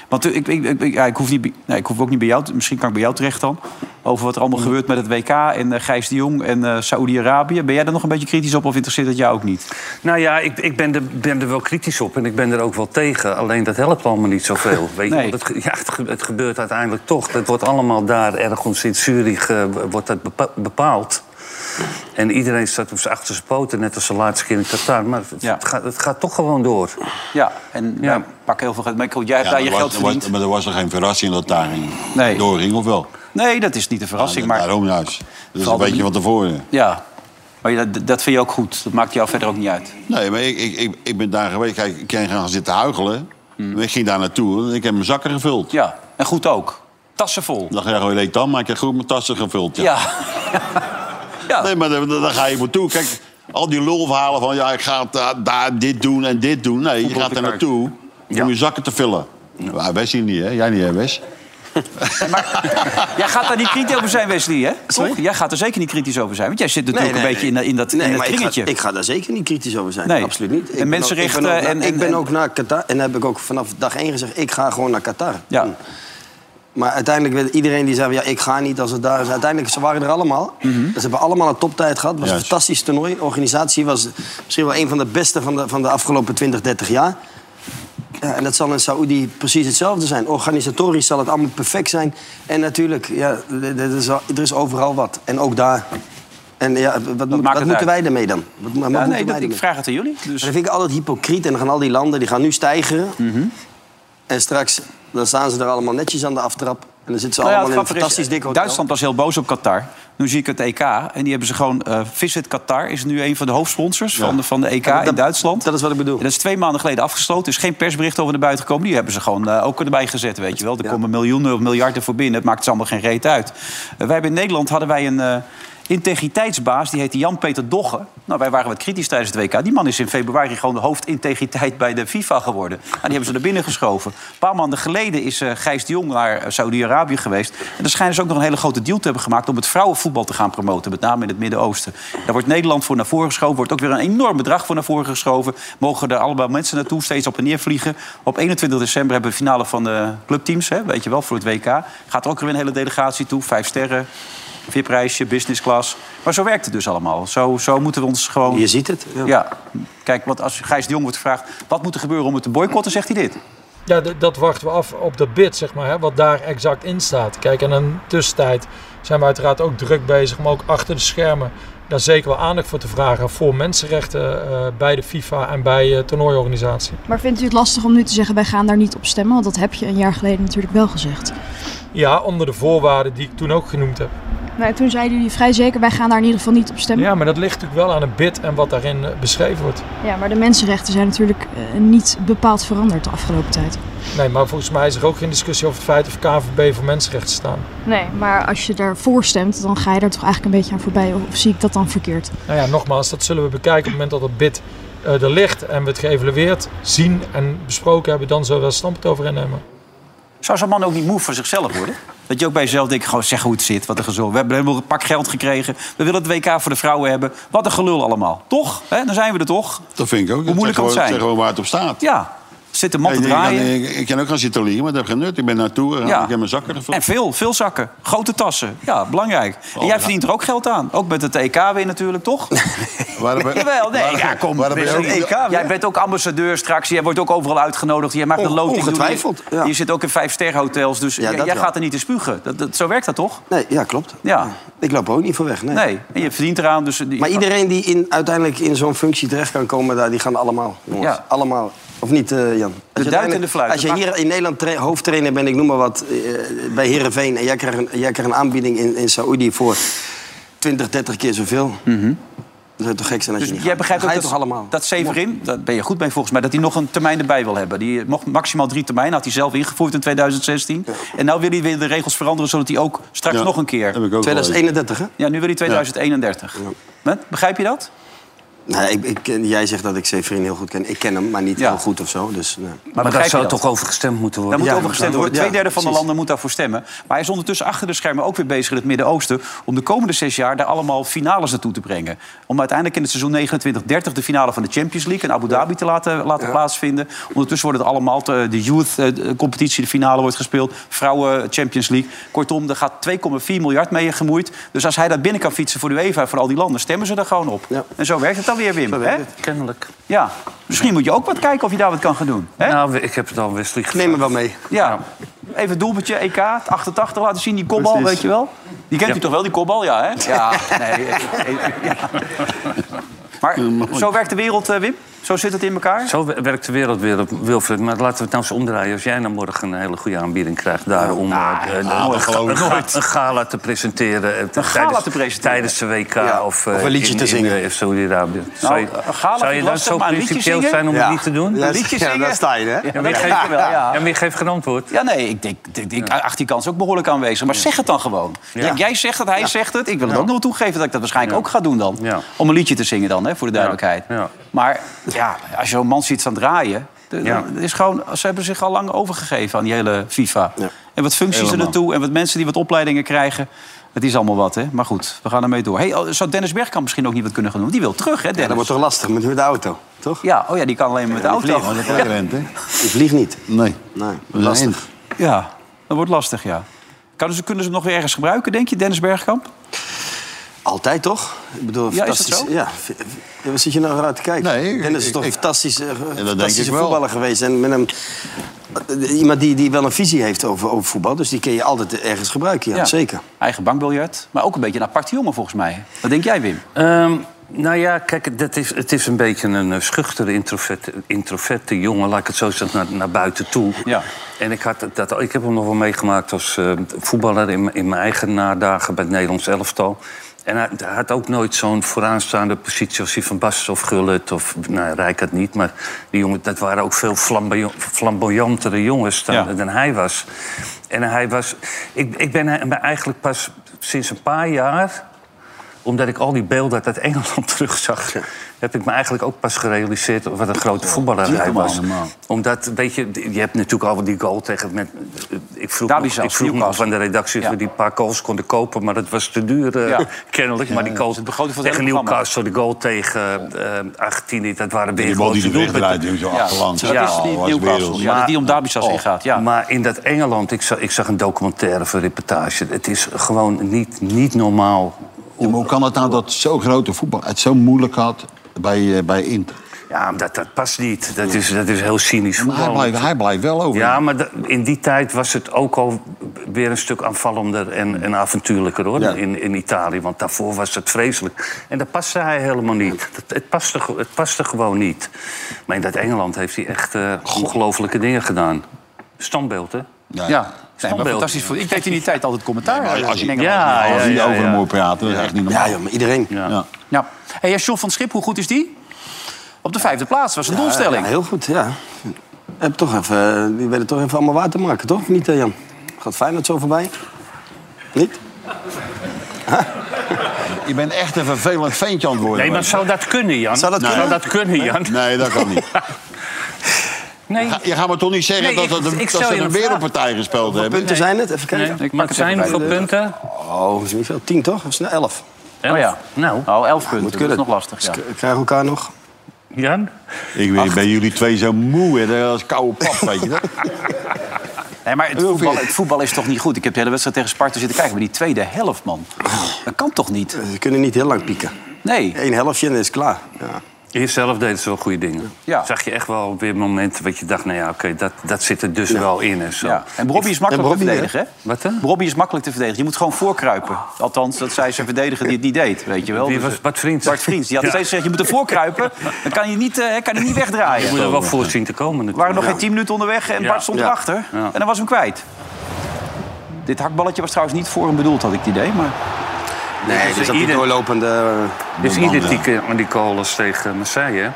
Want eh, ik, ik, ik, ik- ja, ik, hoef, niet, bij- nee, ik hoef ook niet bij jou... te- Misschien kan ik bij jou terecht dan. Over wat er allemaal gebeurt met het WK en eh, Gijs de Jong en eh Saoedi-Arabië. Ben jij daar nog een beetje kritisch op of interesseert het jou ook niet? Nou ja, ik, ik ben, er, ben er wel kritisch op en ik ben er ook wel tegen. Alleen dat helpt allemaal niet zoveel. Weet je? Nee. want het, ge- ja, het, ge- het gebeurt uiteindelijk toch. Het wordt allemaal daar ergens in Zurich eh, wordt dat bepa- bepaald. En iedereen staat op zijn achterste poten, net als de laatste keer in Qatar. Maar het, Ja. het gaat, het gaat toch gewoon door. Ja, en Ja. ja. pak heel veel geld. Maar ik- jij hebt daar je maar geld was- was- verdiend. Maar er was er geen verrassing dat daar Nee. nee. doorging, of wel? Nee, dat is niet de verrassing. Ja, maar Daarom juist. Dat is Vooral een de- beetje van tevoren. Ja, maar ja, dat, dat vind je ook goed. Dat maakt jou verder ook niet uit. Nee, maar ik, ik, ik, ik ben daar geweest. Kijk, ik kan gaan zitten huichelen. Hmm. Ik ging daar naartoe en ik heb mijn zakken gevuld. Ja, en goed ook. Tassen vol. Dan ga je gewoon leeg dan, maar ik heb goed mijn tassen gevuld. ja. Ja. ja. Nee, maar daar, daar ga je voor toe. Kijk, al die lulverhalen van ja, ik ga da- daar dit doen en dit doen. Nee, je gaat daar naartoe om je zakken te vullen. Nou, Wes hier niet, hè? Jij niet, hè, Wes? Jij gaat daar niet kritisch over zijn, Wesley, hè? Toch? Jij gaat er zeker niet kritisch over zijn. Want jij zit natuurlijk een beetje in, in dat, nee, in dat maar ik ga, kringetje. ik ga daar zeker niet kritisch over zijn. Nee. Absoluut niet. Ik En ben ook- mensenrechten Ik ben, ook, na- en- en- ik ben en- ook naar Qatar. En heb ik ook vanaf dag één gezegd, ik ga gewoon naar Qatar. Mm. Ja. Maar uiteindelijk werd iedereen die zei, ja, ik ga niet als het daar is. Uiteindelijk, ze waren er allemaal. Mhm. Ze hebben allemaal een toptijd gehad. Het was Juist. een fantastisch toernooi. De organisatie was misschien wel een van de beste van de, van de afgelopen 20, 30 jaar. Ja, en dat zal in Saoedi precies hetzelfde zijn. Organisatorisch zal het allemaal perfect zijn. En natuurlijk, ja, d- d- er is, al- er is overal wat. En ook daar. En ja, wat, moet- maakt wat het moeten uit? wij daarmee dan? Wat, wat ja, moeten nee, wij dat, ik daarmee? vraag het aan jullie. Dus. Maar dat vind ik altijd hypocriet. En dan gaan al die landen, die gaan nu stijgen. Mhm. En straks, dan staan ze er allemaal netjes aan de aftrap. En dan zitten ze Nou ja, het allemaal in een grappige is, fantastisch dik hotel. Duitsland was heel boos op Qatar. Nu zie ik het EK. En die hebben ze gewoon... eh Visit Qatar is nu een van de hoofdsponsors van, de, van de EK in dat- Duitsland. dat is wat ik bedoel. En dat is twee maanden geleden afgesloten. Er is geen persbericht over naar buiten gekomen. Die hebben ze gewoon eh, ook erbij gezet, weet je wel. Er komen miljoenen of miljarden voor binnen. Het maakt ze allemaal geen reet uit. Eh, wij hebben in Nederland hadden wij een eh, integriteitsbaas. Die heette Jan-Peter Dogge. Nou, wij waren wat kritisch tijdens het WK. Die man is in februari gewoon de hoofdintegriteit bij de FIFA geworden. En die hebben ze naar binnen geschoven. Een paar maanden geleden is eh, Gijs de Jong naar eh, Saudi-Arabië geweest. En daar schijnen ze ook nog een hele grote deal te hebben gemaakt... om het vrouwenvoetbal te gaan promoten, met name in het Midden-Oosten. Daar wordt Nederland voor naar voren geschoven. Wordt ook weer een enorm bedrag voor naar voren geschoven. Mogen er allemaal mensen naartoe, steeds op en neer vliegen. Op 21 december hebben we de finale van de clubteams, hè, weet je wel, voor het WK. Gaat er ook weer een hele delegatie toe, vijf sterren... VIP-reisje, business class. Maar zo werkt het dus allemaal. Zo, zo moeten we ons gewoon... Je ziet het. Ja, kijk, want als Gijs de Jong wordt gevraagd... wat moet er gebeuren om het te boycotten, zegt hij dit. Ja, d- dat wachten we af op de bid, zeg maar, hè, wat daar exact in staat. Kijk, en in de tussentijd zijn we uiteraard ook druk bezig om ook achter de schermen daar zeker wel aandacht voor te vragen voor mensenrechten eh, bij de FIFA en bij eh toernooiorganisatie. Maar vindt u het lastig om nu te zeggen, wij gaan daar niet op stemmen? Want dat heb je een jaar geleden natuurlijk wel gezegd. Ja, onder de voorwaarden die ik toen ook genoemd heb. Nou, toen zeiden jullie vrij zeker, wij gaan daar in ieder geval niet op stemmen. Ja, maar dat ligt natuurlijk wel aan een bid en wat daarin eh, beschreven wordt. Ja, maar de mensenrechten zijn natuurlijk eh, niet bepaald veranderd de afgelopen tijd. Nee, maar volgens mij is er ook geen discussie over het feit of KVB voor mensenrechten staan. Nee, maar als je daarvoor stemt, dan ga je er toch eigenlijk een beetje aan voorbij. Of of zie ik dat dan verkeerd? Nou ja, nogmaals, dat zullen we bekijken op het moment dat dat bid eh, er ligt en we het geëvalueerd zien en besproken hebben, dan zullen we daar standpunt over innemen. Zou zo'n man ook niet moe voor zichzelf worden? Dat je ook bij jezelf denkt, gewoon zeg hoe het zit, wat een gezond. We hebben helemaal een pak geld gekregen. We willen het WK voor de vrouwen hebben. Wat een gelul allemaal. Toch? Hè? Dan zijn we er toch? Dat vind ik ook. Hoe moeilijk kan het zijn? Zeg gewoon waar het op staat. Ja, zit de man te Ik- ik kan- draaien. Ik, ik kan ook gaan zitten liegen, maar dat heb ik genut. Ik ben naartoe gegaan, Ja. ik heb mijn zakken gevuld. Oh, En veel, veel zakken. Grote tassen. Ja, belangrijk. En jij verdient er ook geld aan. Ook met het EK weer natuurlijk, toch? Waarom ben- Jawel, nee, waarom- ja, kom. waarom ben met je het EK ook- E weer. jij bent ook ambassadeur straks. Jij wordt ook overal uitgenodigd. Jij maakt On- een loting. ongetwijfeld, Je, je zit ook in vijfsterhotels, dus jij- dat jij wel. gaat er niet in spugen. Dat, dat, zo werkt dat toch? Nee, ja, klopt. Ja. Ik loop er ook niet voor weg, nee. Nee, en je verdient eraan. Dus die- Maar iedereen die in, uiteindelijk in zo'n functie terecht kan komen, daar, die gaan allemaal. Jongens. Ja. Allemaal. Of niet, eh, Jan? Als je duit en uiteindelijk- de fluit. Als je Dat hier in Nederland tra- hoofdtrainer bent, ik noem maar wat, eh, bij Herenveen en jij krijgt een, jij krijgt een aanbieding in, in Saoedi voor 20, 30 keer zoveel. Dat zou toch gek zijn Mhm. als Dus je niet jij gaat. begrijpt Dan ook ga dat, je toch allemaal. dat Severin, daar ben je goed mee volgens mij, dat hij nog een termijn erbij wil hebben. Die mocht maximaal drie termijnen, had hij zelf ingevoerd in 2016. En nou wil hij weer de regels veranderen, zodat hij ook straks Ja, nog een keer... heb ik ook 2031, hè? Ja, nu wil hij 2031. Hè? Begrijp je dat? Nee, Nou, ik, ik, ken- jij zegt dat ik Severin heel goed ken. Ik ken hem, maar niet heel goed of zo. Dus, nee. Maar, Maar begrijp daar je zou dat? toch over gestemd moeten Daar worden? moet Ja, over gestemd dan worden. wordt- Tweederde ja, van de precies. landen moet daarvoor stemmen. Maar hij is ondertussen achter de schermen ook weer bezig in het Midden-Oosten... om de komende zes jaar daar allemaal finales naartoe te brengen. Om uiteindelijk in het seizoen 29-30 de finale van de Champions League... in Abu Dhabi te laten, laten plaatsvinden. Ondertussen wordt het allemaal te- de youth-competitie, de finale wordt gespeeld. Vrouwen eh, Champions League. Kortom, er gaat 2,4 miljard mee gemoeid. Dus als hij dat binnen kan fietsen voor de UEFA en voor al die landen... stemmen ze er gewoon op. Ja. En zo werkt het dan weer, Wim. Hè? Kennelijk. Ja. Misschien moet je ook wat kijken of je daar wat kan gaan doen. Hè? Nou, ik heb het al Wesley Ik neem gevraagd. hem wel mee. Ja, even het doelpuntje, EK, 88 laten zien, die kopbal, weet je wel? Die kent u Ja. toch wel, die kopbal, ja, hè? Ja, nee. eh, eh, ja. Maar zo werkt de wereld, eh, Wim? Zo zit het in elkaar? Zo we- werkt de wereld weer op Wilfred. Maar laten we het nou eens omdraaien. Als jij nou morgen een hele goede aanbieding krijgt... daarom eh, eh, nou, een dat ga- geloof ik een, ga- een gala te presenteren. eh, tijdens- te presenteren. Tijdens de WK of, eh, of een liedje in, te zingen. In, eh, Saudi-Arabië. zou je, Nou, een gala vind zou ik je dan lastig, zo maar een liedje principieel zingen? zijn om het niet te doen? Ja, Een liedje ja, zingen? daar sta je, hè? Ja, maar ik geef, Ja, ja. ja, maar ik geef geen antwoord. Ja, nee, ik denk, ik, ik, acht die kans ook behoorlijk aanwezig. Maar zeg het dan gewoon. Kijk, Jij zegt het, hij zegt het. Ik wil het ook nog wel toegeven dat ik dat waarschijnlijk ook ga doen dan. Ja. Om een liedje te zingen dan, hè, voor de duidelijkheid. Ja. Maar ja, als je zo'n man ziet staan draaien... de- Ja. dan is gewoon, ze hebben zich al lang overgegeven aan die hele FIFA. En wat functies er naartoe en wat mensen die wat opleidingen krijgen... Het is allemaal wat, hè? Maar goed, we gaan ermee door. Hey, oh, zou Dennis Bergkamp misschien ook niet wat kunnen gaan doen? Die wil terug, hè, Ja, dat Dennis? wordt toch lastig met met de auto, toch? Ja, oh ja, die kan alleen maar met de auto. Oh, dat is rent, hè? Die vliegt niet. Nee. Nee, Dat is een lastig. eind. Ja, dat wordt lastig, ja. Kunnen ze, kunnen ze hem nog weer ergens gebruiken, denk je, Dennis Bergkamp? Altijd toch? Ik bedoel, Ja, is dat fantastisch. zo? Ja, v- v- wat zit je nou uit te kijken? Nee, ik- Dennis is ik- toch een ik- fantastische, eh, denk fantastische ik wel. voetballer geweest. En met hem, iemand die, die wel een visie heeft over, over voetbal. Dus die kun je altijd ergens gebruiken, ja, zeker. Eigen bankbiljet, maar ook een beetje een aparte jongen volgens mij. Wat denk jij, Wim? Ehm, nou ja, kijk, dat is, het is een beetje een eh, schuchtere, introverte, introverte jongen. Laat ik het zo zeggen, naar, naar buiten toe. Ja. En ik, had dat, ik heb hem nog wel meegemaakt als eh, voetballer in, mijn- in mijn eigen nadagen bij het Nederlands elftal. En hij, hij had ook nooit zo'n vooraanstaande positie als die van Bas of Gullit. Of, nou, Rijk had niet, maar die jongen, dat waren ook veel flamboyant- flamboyantere jongens dan, Ja. dan hij was. En hij was... Ik, ik ben hem eigenlijk pas sinds een paar jaar omdat ik al die beelden uit Engeland terugzag... heb ik me eigenlijk ook pas gerealiseerd wat een grote voetballer hij was. Omdat, weet je, je hebt natuurlijk al die goal tegen... Met, ik vroeg, Derby nog, ik zelfs, vroeg nog Newcastle. van de redactie of Ja. we die paar goals konden kopen... maar dat was te duur, eh, Ja. kennelijk. maar die goal is de begroting van het tegen hele programma. Newcastle, de goal tegen eh Argentinië... dat waren weer Die bal die grote er wegdraait, doelpunten. die zo achterlands. dat is die was Newcastle. werelds. Ja, dat die om Derbyshire Oh. ingaat, ja. Maar in dat Engeland, ik zag, ik zag een documentaire of een reportage... het is gewoon niet, niet normaal Ja, maar hoe kan het nou dat zo'n grote voetbal het zo moeilijk had bij, eh, bij Inter? Ja, dat, dat past niet. Dat is, dat is heel cynisch Maar hij voetbal. blijft, hij blijft wel over. Ja, maar da- in die tijd was het ook al weer een stuk aanvallender en, en avontuurlijker hoor, Ja. in, in Italië. Want daarvoor was het vreselijk. En dat paste hij helemaal niet. Dat, het, paste, ge- het paste gewoon niet. Maar in dat Engeland heeft hij echt eh ongelofelijke dingen gedaan. Standbeeld, hè? Ja. Nee, maar fantastisch. voetbal. Ik deed in die tijd altijd commentaar. eh, in Engeland. ja, als ja, je ja, over ja. hem hoort praten, dat is echt niet normaal. Ja, joh, maar iedereen. Ja. Ja. Hey, en John van Schip, hoe goed is die? Op de vijfde plaats, was een doelstelling. Ja, heel goed, ja. Heb toch even, eh, die werden toch even allemaal water maken, toch? Of Niet, eh, Jan? Gaat Feyenoord zo voorbij? Niet? Je bent echt een vervelend ventje aan het worden. Nee, maar zou dat kunnen, Jan? Nou, Zou dat kunnen? kunnen, Jan? Nee, dat kan niet. Nee. Je gaat me toch niet zeggen Nee, dat, ik- dat, ik dat stel ze je een een wereldpartij gespeeld Hoeveel hebben. punten zijn het? Even kijken. Nee. Maar het zijn hoeveel punten? Oh, dat is niet veel. Tien, toch? Of is het nou elf? Oh ja. Nou, Oh, elf punten. Dat is kunnen. nog lastig. Ja. K- Krijgen we elkaar nog? Jan? Ik weet, ben jullie twee zo moe, hè? dat is koude pap, weet je dat? Nee, maar het voetbal, het voetbal is toch niet goed? Ik heb de hele wedstrijd tegen Sparta zitten kijken. Maar die tweede helft, man. Dat kan toch niet? Ze kunnen niet heel lang pieken. Nee. Eén helftje en dan is het klaar. Ja. Eerst zelf deden ze wel goede dingen. Ja. Zag je echt wel weer momenten wat je dacht... nou ja, oké, dat, dat zit er dus wel in en zo. Ja. En Robbie is makkelijk En Robbie, te verdedigen, hè? Wat dan? Robbie is makkelijk te verdedigen. Je moet gewoon voorkruipen. Althans, dat zei zijn verdediger die het niet deed, weet je wel. Wie Dus, was Bart Vriends? Bart Vriends, die had Ja. steeds gezegd, je moet ervoor kruipen. Dan kan je niet, eh, kan je niet Je wegdraaien. moet er wel We voor zien te komen natuurlijk. waren nog geen tien minuten onderweg en Ja. Bart stond Ja. erachter. Ja. En dan was hem kwijt. Dit hakballetje was trouwens niet voor hem bedoeld, had ik het idee. Maar... Nee, dus dat die ieder- doorlopende... Dus man, ieder ja. die, keer- die goal als tegen Marseille, hè?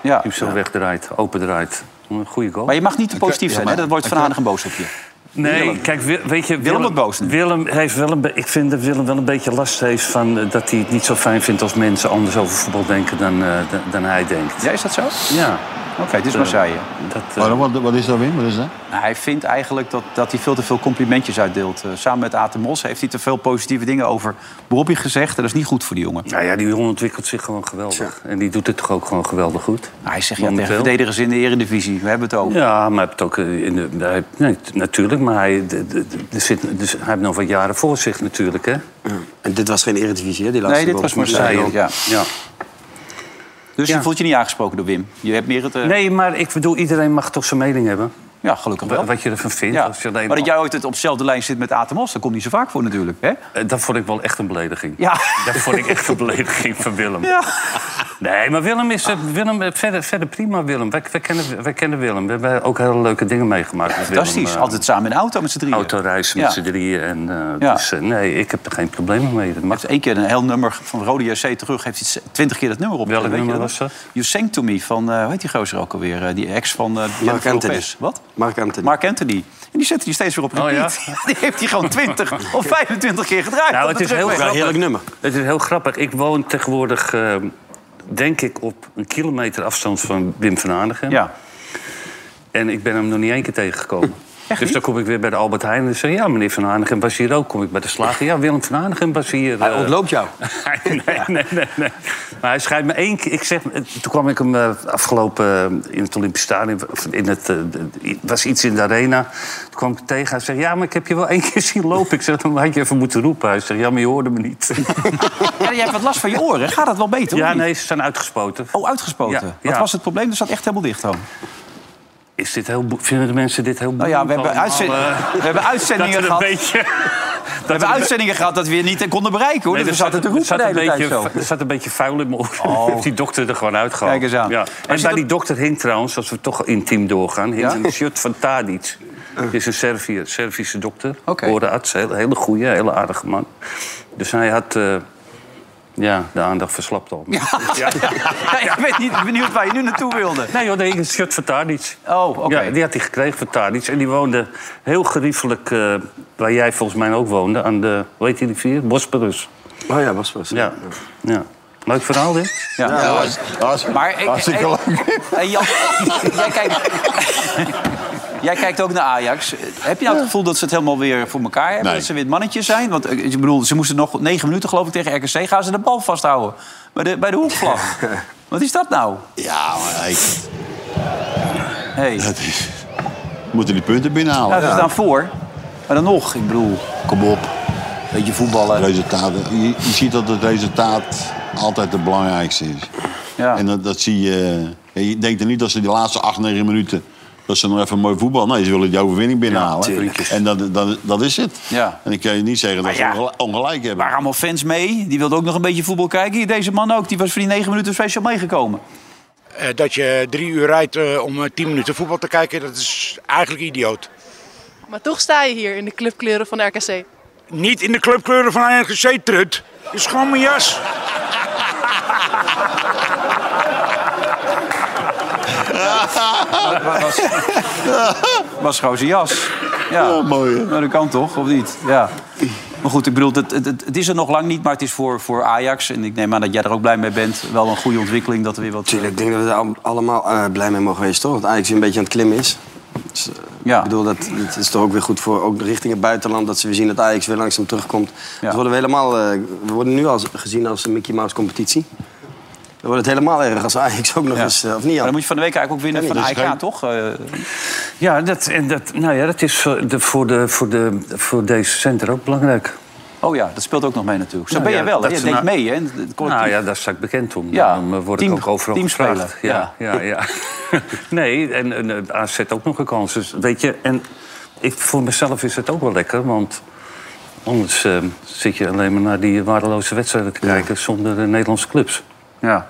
Die Ja. hem zo wegdraait, opendraait. Een goede goal. Maar je mag niet te positief zijn, hè? Dat wordt Van Hanegem boos op je. Nee, kijk, we- weet je... wordt boos nu. Willem heeft wel een be- ik vind dat Willem wel een beetje last heeft van... eh, dat hij het niet zo fijn vindt als mensen anders over voetbal denken dan, eh, dan, dan hij denkt. Ja, is dat zo? Ja. Oké, het is Marseille. Dat, eh, Maar wat, wat is dat, Wim? Wat is dat? Nou, Hij vindt eigenlijk dat, dat hij veel te veel complimentjes uitdeelt. Eh, samen met Aten Mos heeft hij te veel positieve dingen over Bobby gezegd. En dat is niet goed voor die jongen. Nou ja, die jongen ontwikkelt zich gewoon geweldig. En die doet het toch ook gewoon geweldig goed. Nou, hij zegt ja, tegen Momenteel. verdedigers in de Eredivisie. We hebben het over. Ja, maar hij heeft ook eh, in de, hij- nee, t- natuurlijk, maar hij, de- de- de- er zit, dus hij heeft nog wat jaren voor zich natuurlijk, hè? En eh, dit was geen Eredivisie, hè? Die laatste nee, dit was goal. Marseille. Ja. Ja. Dus Ja. je voelt je niet aangesproken door Wim. Je hebt meer het... eh, Nee, maar ik bedoel, iedereen mag toch zijn mening hebben. Ja, gelukkig Wa- wel. Wat je ervan vindt. Ja. Als je alleen- Maar dat jij ooit het op dezelfde lijn zit met Aten Mos, dat komt niet zo vaak voor natuurlijk. Hè? Eh, Dat vond ik wel echt een belediging. Ja. Dat vond ik echt een belediging van Willem. Nee, maar Willem is eh, Willem, eh, verder, verder prima, Willem. Wij, wij, kennen, wij kennen Willem. We hebben ook hele leuke dingen meegemaakt met Willem. Fantastisch. eh. Altijd samen in de auto met z'n drieën. autoreis met Ja. z'n drieën. En, eh, Ja. Dus eh, nee, ik heb er geen problemen mee. Dat Hij mag. heeft één keer een heel nummer van Rode JC terug. Heeft hij twintig keer dat nummer op. Welk Weet je nummer dat? was dat? You Sang To Me van, eh hoe heet die gozer ook alweer? Eh, die ex van eh Jennifer Anthony. Lopez. Wat? Mark Anthony. Mark Anthony. En die zette hij steeds weer op Oh, repeat. Die heeft hij gewoon 20 of 25 keer gedraaid. Nou, op het de is heel terugweg. Ja, heerlijk nummer. Het is heel grappig. Ik woon tegenwoordig, eh, denk ik, op een kilometer afstand van Wim van Aardigem. Ja. En ik ben hem nog niet één keer tegengekomen. dus dan kom ik weer bij de Albert Heijn en zeg... ja, meneer Van Aardigem was hier ook. Kom ik bij de slager. Ja, Willem Van Aardigem was hier. Hij eh, ontloopt jou. nee, nee, nee, nee. Maar hij schrijft me één keer. Ik zeg, toen kwam ik hem eh, afgelopen eh, in het Olympisch Stadion. of In het, eh, de- was iets in de arena. Toen kwam ik hem tegen. Hij zegt: Ja, maar ik heb je wel één keer zien lopen. Ik zeg: Dan had je even moeten roepen. Hij zegt: Ja, maar je hoorde me niet. Ja, jij hebt wat last van je oren. Gaat dat wel beter? ja, of niet? nee, ze zijn uitgespoten. Oh, uitgespoten. Ja, Wat ja. was het probleem? Er zat echt helemaal dicht dan. Is dit heel, boe- vinden de mensen dit heel Nou ja, boeiend we hebben, allemaal, uitzend- eh, we hebben dat uitzendingen er een gehad. We beetje. Dat hebben uitzendingen gehad dat we je niet konden bereiken hoor. dus we zaten te roepen de een hele tijd beetje, zo. Er zat een beetje vuil in mijn oor. Heeft die dokter er gewoon uitgehaald. Kijk eens aan. Ja. Maar En zit bij er- die dokter hing trouwens, als we toch intiem doorgaan... hing Ja? Eh. een shirt van Tadic. Die is een Serviër, Servische dokter. Oké. Orenarts, hele, hele goeie, hele aardige man. Dus hij had... eh, ja, de aandacht verslapt al. Ja, ik ben niet benieuwd waar je nu naartoe wilde. Nee joh, nee, een shirt van Tadic. Oh, oké. Ja, die had hij gekregen van Tadic. En die woonde heel geriefelijk, eh, waar jij volgens mij ook woonde... aan de, hoe heet die rivier? Bosporus. Oh ja, was was. Ja. ja. Leuk verhaal, dit. Ja. Ja, als, als, Maar ik, hartstikke ik- leuk. Hey, Jan, jij, kijkt, jij kijkt ook naar Ajax. Heb je nou het gevoel dat ze het helemaal weer voor elkaar hebben? Nee. Dat ze weer het mannetje zijn? Want eh, ik bedoel, ze moesten nog negen minuten geloof ik tegen RKC. Gaan ze de bal vasthouden bij de, bij de hoekvlag? Wat is dat nou? Ja, maar ik, Hey. dat is, we moeten die punten binnenhalen. Ja, ze staan voor. Maar dan nog, ik bedoel, Kom op. beetje voetballen. Resultaten. Je, je ziet dat het resultaat altijd het belangrijkste is. En dat, dat zie je... eh, je denkt er niet dat ze die laatste acht, negen minuten... dat ze nog even mooi voetbal... Nee, ze willen die overwinning binnenhalen. en dat, dat, dat is het. Ja. En ik kan je niet zeggen dat ze ja, ongel- ongelijk hebben. Waren allemaal fans mee. Die wilden ook nog een beetje voetbal kijken. Hier, Deze man ook. Die was voor die negen minuten special meegekomen. Eh, dat je drie uur rijdt eh, om eh, tien minuten voetbal te kijken, dat is eigenlijk idioot. Maar toch sta je hier in de clubkleuren van de RKC. Niet in de clubkleuren van RKC, Trut. Is gewoon mijn jas. was, was gewoon zijn jas. Ja, mooi. Nou, dat kan toch, of niet? Ja. Maar goed, ik bedoel, het, het, het het is er nog lang niet, maar het is voor, voor Ajax. En ik neem aan dat jij er ook blij mee bent. Wel een goede ontwikkeling dat er weer wat... Ik denk dat we daar al- allemaal eh, blij mee mogen wezen, toch? Want Ajax weer een beetje aan het klimmen is. Dus, eh, Ik bedoel, dat, dat is toch ook weer goed voor ook richting het buitenland... dat ze weer zien dat Ajax weer langzaam terugkomt. Dus worden we, helemaal, eh, we worden nu al gezien als een Mickey Mouse-competitie. Dan wordt het helemaal erg als Ajax ook nog eens... eh, of niet, dan moet je van de week eigenlijk ook winnen van de AEK, toch? Ja, dat, en dat, nou ja, dat is voor, de, voor, de, voor, de, voor deze center ook belangrijk. Oh ja, dat speelt ook nog mee natuurlijk. Zo Nou ben ja, je wel, hè? dat Je ze denkt nou- mee, hè? Het collectief. Nou ja, daar sta ik bekend om. Ja, Daarom eh, word team- ik ook overal teamspeler, gevraagd. Ja, ja. ja. ja, nee, en, en eh, AZ ook nog een kans. Dus, weet je, en ik, voor mezelf is het ook wel lekker, want... Anders eh, zit je alleen maar naar die waardeloze wedstrijden te kijken zonder de Nederlandse clubs. Ja.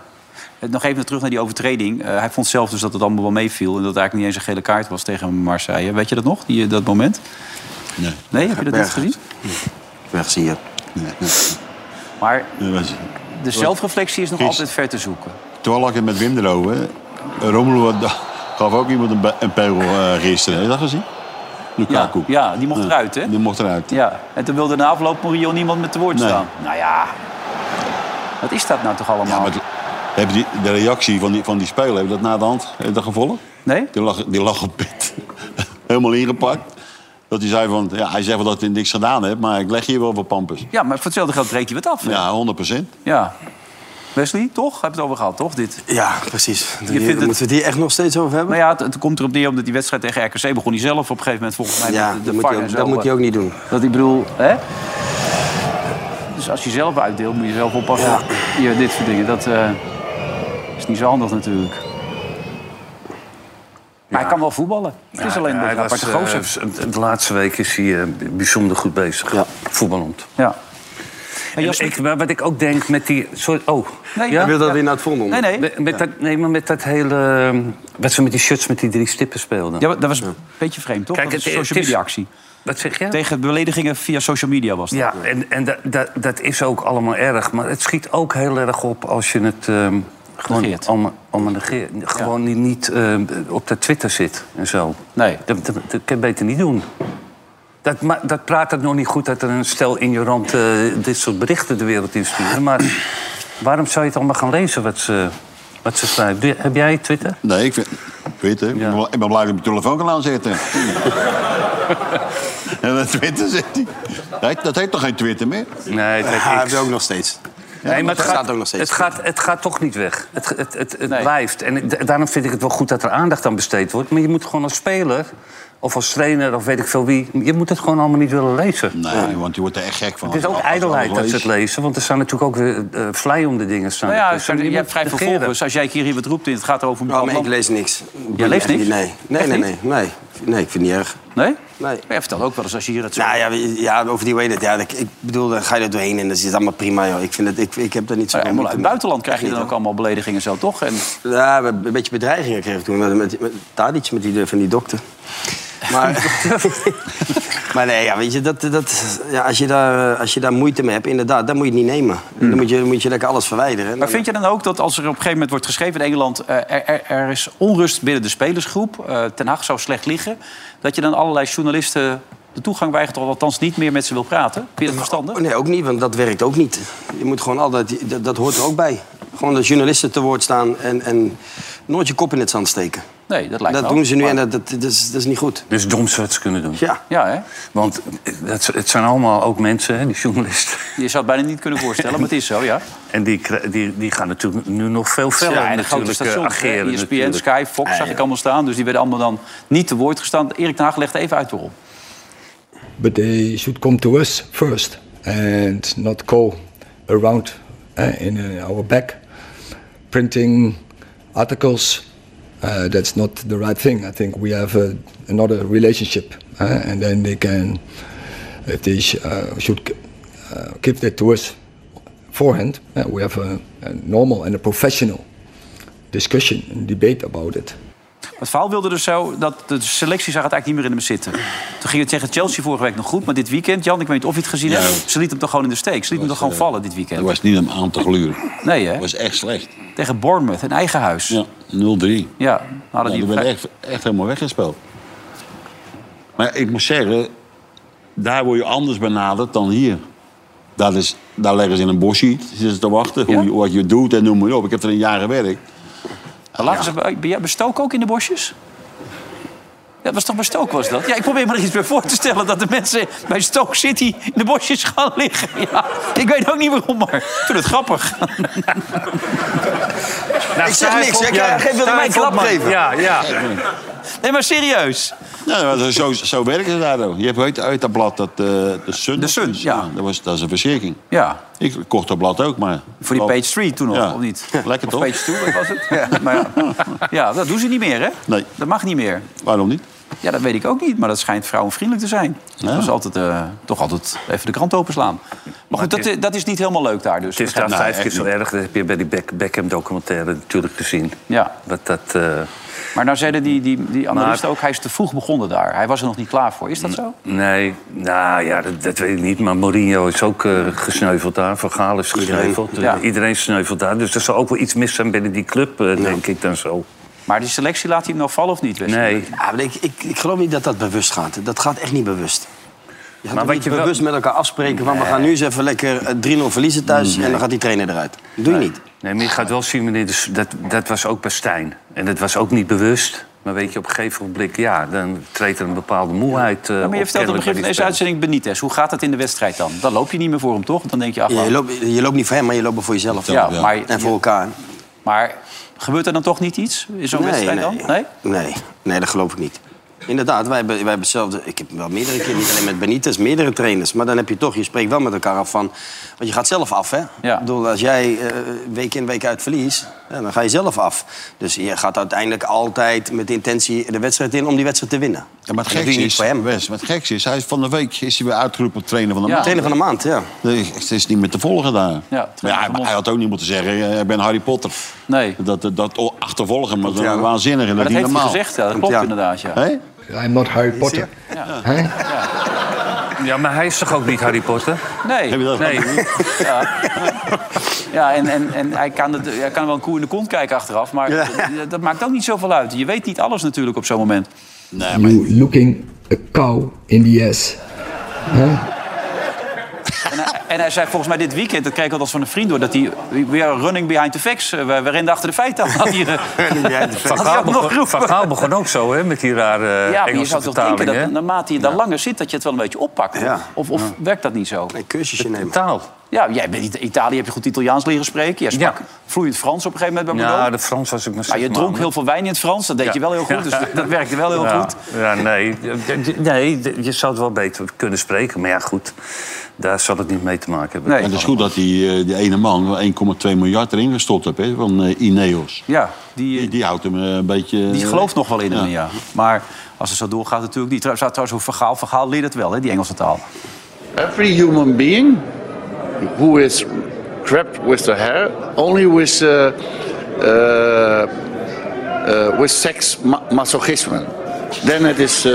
Eh, Nog even terug naar die overtreding. Eh, hij vond zelf dus dat het allemaal wel meeviel... en dat het eigenlijk niet eens een gele kaart was tegen Marseille. Weet je dat nog, die, eh, dat moment? Nee. Nee, heb je dat niet Berghuis. gezien? weg zie je. Maar de Wat? zelfreflectie is nog Gisteren. altijd ver te zoeken. Toen lag ik met Wim erover. hè. Romelu had- gaf ook iemand een, be- een pegel eh, gisteren. Heb je dat gezien? Lukaku. Ja, die mocht eruit, hè? Die mocht eruit. Ja. En toen wilde na afloop Mourinho niemand met te woord Nee. staan. Nou ja, wat is dat nou toch allemaal? Maar heb je die, de reactie van die, van die speler, heb je dat na de hand heb je dat gevolgd? Nee. Die lag, die lag op pit. Helemaal ingepakt. Dat hij zei van, ja, hij zegt wel dat hij niks gedaan heeft, maar ik leg hier wel wat pampers. Ja, maar voor hetzelfde geld breekt hij wat af. hè? Ja, 100 procent. Ja. Wesley, toch? Heb je het over gehad, toch? Dit. Ja, precies. Je Hier, vindt moeten we het hier echt nog steeds over hebben? Nou ja, het, het komt erop neer omdat die wedstrijd tegen RKC begon hij zelf op een gegeven moment volgens mij Ja, met Nou de, dat de moet VAR je ook- en zo, dat moet je eh, ook niet doen. Dat ik bedoel, hè? Dus als je zelf uitdeelt, moet je zelf oppassen. Ja. dit soort dingen, dat eh, is niet zo handig natuurlijk. Maar hij kan wel voetballen. Het is Ja, alleen hij een was, aparte eh, gozer. de- de laatste week is hij eh, bijzonder goed bezig, voetballend. Ja. En ik, maar wat ik ook denk met die... Sorry, oh. Nee, Hij wil dat weer naar het volgende. Nee, nee. Met, met dat, nee, maar met dat hele... ehm, Wat ze met die shirts met die drie stippen speelden. Ja, maar dat was een beetje vreemd, toch? Kijk, dat is het- een het social is- media actie. Wat zeg je? Tegen beledigingen via social media was dat. Ja, en, en dat, dat, dat is ook allemaal erg. Maar het schiet ook heel erg op als je het ehm, gewoon allemaal, allemaal negeert. Gewoon niet, niet ehm, op de Twitter zit en zo. Nee. Dat, dat, dat kan je beter niet doen. Dat, ma- dat praat het nog niet goed dat er een stel ignorant eh dit soort berichten de wereld insturen. Maar waarom zou je het allemaal gaan lezen wat ze, wat ze schrijven? Doe- Heb jij Twitter? Nee, ik vind... Twitter. Ik, ben, blij- ik ben blij dat ik mijn telefoon kan aanzetten. en dat Twitter zegt hij. Nee, Dat heet toch geen Twitter meer? Nee, Ja, hebben we ook nog steeds. nee, maar het dat gaat, staat ook nog steeds. Het gaat, het gaat toch niet weg. Het, het, het, het blijft. En da- daarom vind ik het wel goed dat er aandacht aan besteed wordt. Maar je moet gewoon als speler, of als trainer, of weet ik veel wie... je moet het gewoon allemaal niet willen Nou, lezen. Nee, want je wordt er echt gek van. Het is ook Als je alles ijdelheid dat ze leest. het lezen. Want er staan natuurlijk ook weer eh, vlei om de dingen. Staan Nou ja, ertussen. je, moet hebt vrij veel negeren. volgers. Als jij hier wat roept in, het gaat over... Oh, maar ik lees niks. Jij leest niks? Nee, nee, Echt nee, niet? nee, nee. Nee, ik vind het niet erg. Nee? Nee. Maar jij vertelt ook wel eens als je hier het zo... Nou ja, we- ja over die way that. Ja, dat- ik bedoel, dan ga je er doorheen en dat is allemaal prima. Joh. Ik, vind het, ik, ik heb daar niet zo Maar Oh ja, moeite uit het mee. buitenland krijg je dan ook allemaal beledigingen zo, toch? En... Ja, we- een beetje bedreigingen kreeg ik toen. Met, met, met Tadic, met die, van die dokter. Maar, maar nee, ja, weet je, dat, dat, ja, als, je daar, eh, als je daar moeite mee hebt, inderdaad, dan moet je het niet nemen. Dan moet je, moet je lekker alles verwijderen. En Hmm. Maar dan- vind je dan ook dat als er op een gegeven moment wordt geschreven in Engeland... eh, er, er, er is onrust binnen de spelersgroep, eh, Ten Hag zou slecht liggen... dat je dan allerlei journalisten de toegang weigert... of althans niet meer met ze wil praten? Vind je dat verstandig? Oh, Nee, ook niet, want dat werkt ook niet. Je moet gewoon altijd, dat, dat hoort er ook bij. Gewoon de journalisten te woord staan en, en nooit je kop in het zand steken. Nee, dat lijkt me dat ook. doen ze nu Maar- en dat, dat, dat is, dat is niet goed. Dus doms wat ze kunnen doen. Ja. Ja, hè? Want het, het zijn allemaal ook mensen, hè, die journalisten. Je zou het bijna niet kunnen voorstellen, maar het is zo, ja. En die, kri- die, die gaan natuurlijk nu nog veel verder Ja, en de grote natuurlijk, eh, stations, ageren. hè, E ESPN, natuurlijk. Ah, Sky, Fox zag ik allemaal staan. Dus die werden allemaal dan niet te woord gestaan. Erik ten Hag legde even uit waarom. but they should come to us first and not go around uh, in uh, our back printing articles. Uh, that's not the right thing. I think we have a, Eh, another relationship, uh, and then they can, if they sh- uh, should uh, give that to us beforehand, uh, we have a, a normal and a professional discussion and debate about it. Het verhaal wilde dus zo dat de selectie zag het eigenlijk niet meer in hem zitten. Toen ging het tegen Chelsea vorige week nog goed, maar dit weekend, Jan, ik weet niet of je het gezien Ja. hebt, ze liet hem toch gewoon in de steek. Ze liet hem toch gewoon vallen dit weekend. Dat was niet om aan te gluren. Nee, hè? Dat was echt slecht. Tegen Bournemouth, in eigen huis. Ja, 0-3. Ja, hadden die die- werd echt, echt helemaal weggespeeld. Maar ik moet zeggen, daar word je anders benaderd dan hier. Dat is, daar leggen ze in een bosje, zitten ze te wachten, hoe, je- wat je doet en noem maar op. Ik heb er een jaar gewerkt. Maar laten ze, eh, ben jij bestoken ook in de bosjes? Dat was toch bij Stoke was dat? Ja, ik probeer me er iets bij voor te stellen dat de mensen bij Stoke City in de bosjes gaan liggen. Ja, ik weet ook niet waarom, maar ik vind het grappig. ik zeg niks, hè? Jij- jij wilde mij een klap geven. Nee, maar serieus. Nou, dat is zo, zo werken ze daar ook. Je hebt uit, uit dat blad dat, eh, de Sun. De Sun, ja. Dat, was, dat is een verschrikking. Ja. Ik kocht dat blad ook, maar... Voor die Page 3 toen nog, of niet? Lekker Of toch? Page 2 was het? Ja, maar ja. ja, dat doen ze niet meer, hè? Nee. Dat mag niet meer. Waarom niet? Ja, dat weet ik ook niet, maar dat schijnt vrouwenvriendelijk te zijn. Dat is altijd, eh, toch altijd even de krant openslaan. Maar goed, dat, dat is niet helemaal leuk daar dus. Het is daar Nou, vijf echt keer zo niet. erg. Dat heb je bij die Beck- Beckham-documentaire natuurlijk gezien. Ja. Dat, dat, eh, Maar nou zeiden die, die, die analisten ook, hij is te vroeg begonnen daar. Hij was er nog niet klaar voor. Is dat zo? nee, nou ja, dat, dat weet ik niet. Maar Mourinho is ook eh, gesneuveld daar. Van Gaal is gesneuveld. Eh, Ja. Iedereen, sneuvelt daar. Dus er zal ook wel iets mis zijn binnen die club, eh, denk ik dan zo. Maar die selectie laat hij hem nou vallen of niet? Nee. Ja, maar ik, ik, ik geloof niet dat dat bewust gaat. Dat gaat echt niet bewust. Je gaat Maar maar wat niet je wel- bewust met elkaar afspreken... van we Nee. gaan nu eens even lekker eh, 3-0 verliezen thuis... en dan gaat die trainer eruit. Dat doe je Nee. niet. Nee, maar je gaat wel zien, meneer, dus dat, dat was ook bij Stijn. En dat was ook niet bewust. Maar weet je, op een gegeven ogenblik, ja, dan treedt er een bepaalde moeheid eh Ja, maar je op, vertelt aan het kennelijk, begin van bij die deze spelers. uitzending Benitez. Hoe gaat dat in de wedstrijd dan? Dan loop je niet meer voor hem, toch? Dan denk je, ach, Ja, je, wat- loopt, je loopt niet voor hem, maar je loopt er voor jezelf. Ja, maar- en voor elkaar. Maar gebeurt er dan toch niet iets in zo'n Nee, wedstrijd dan? nee. Nee, nee, dat geloof ik niet. Inderdaad, wij hebben, wij hebben hetzelfde. Ik heb wel meerdere keer, niet alleen met Benitez, meerdere trainers. Maar dan heb je toch, je spreekt wel met elkaar af van. Want je gaat zelf af, hè? Ik bedoel, als jij eh, week in, week uit verliest, ja, dan ga je zelf af. Dus je gaat uiteindelijk altijd met de intentie de wedstrijd in om die wedstrijd te winnen. Ja, maar het dat doe gekste je niet is, voor hem. Wes, maar het gekste is, hij is van de week is hij weer uitgeroepen tot trainer van de Ja, Ah. maand. trainer van de maand, ja. Nee, Het is niet meer te volgen daar. Ja, maar ja, hij, hij had ook niet moeten zeggen, eh, ik ben Harry Potter. Nee. Dat, dat, dat achtervolgen, maar dat is Ja. waanzinnig. Maar dat is niet heeft hij normaal. gezegd, ja, dat klopt inderdaad, ja. Hé? I'm not Harry Potter. Hè? Ja, maar hij is toch ook niet Harry Potter? Nee. Heb je dat nee. gezien? Ja, ja en, en, en hij, kan het, hij kan wel een koe in de kont kijken achteraf. Maar dat, dat maakt ook niet zoveel uit. Je weet niet alles natuurlijk op zo'n moment. You looking a cow in the ass. Hè? En hij, en hij zei volgens mij dit weekend, dat kreeg ik althans van een vriend door... dat hij weer running behind the facts, eh, we, we renden achter de feiten aan. Had hij, eh, Van had hij Gaal, ook nog begon, roepen. Van Gaal begon ook zo, hè, met die rare Ja, maar je Engelse zou toch denken vertaling, dat hè? naarmate je daar langer zit... dat je het wel een beetje oppakt? Of, of werkt dat niet zo? Een cursusje nemen. Nou- Taal. Ja, jij bent in Italië, heb je goed Italiaans leren spreken. Jij sprak vloeiend Frans op een gegeven moment bij Ja, Bordeaux. de Frans was ik nog Maar steeds Ah, je dronk maar- heel veel wijn in het Frans, dat deed je wel heel goed. Dus Ja. dat werkte wel heel Ja. goed. Ja, nee. nee, je zou het wel beter kunnen spreken. Maar ja, goed, daar zal het niet mee te maken hebben. En het is goed dat die, eh, die ene man wel 1,2 miljard erin gestopt heeft hè, van eh, Ineos. Ja, die, die, houdt hem eh, een beetje... Die gelooft nog wel in hem, ja. Maar als het zo doorgaat natuurlijk niet. Trouwens, trouwens hoe vergaal, vergaal leert het wel, hè, die Engelse taal. Every human being who is crept with the hair only with uh, uh, uh, with sex ma- masochism. Then it is uh,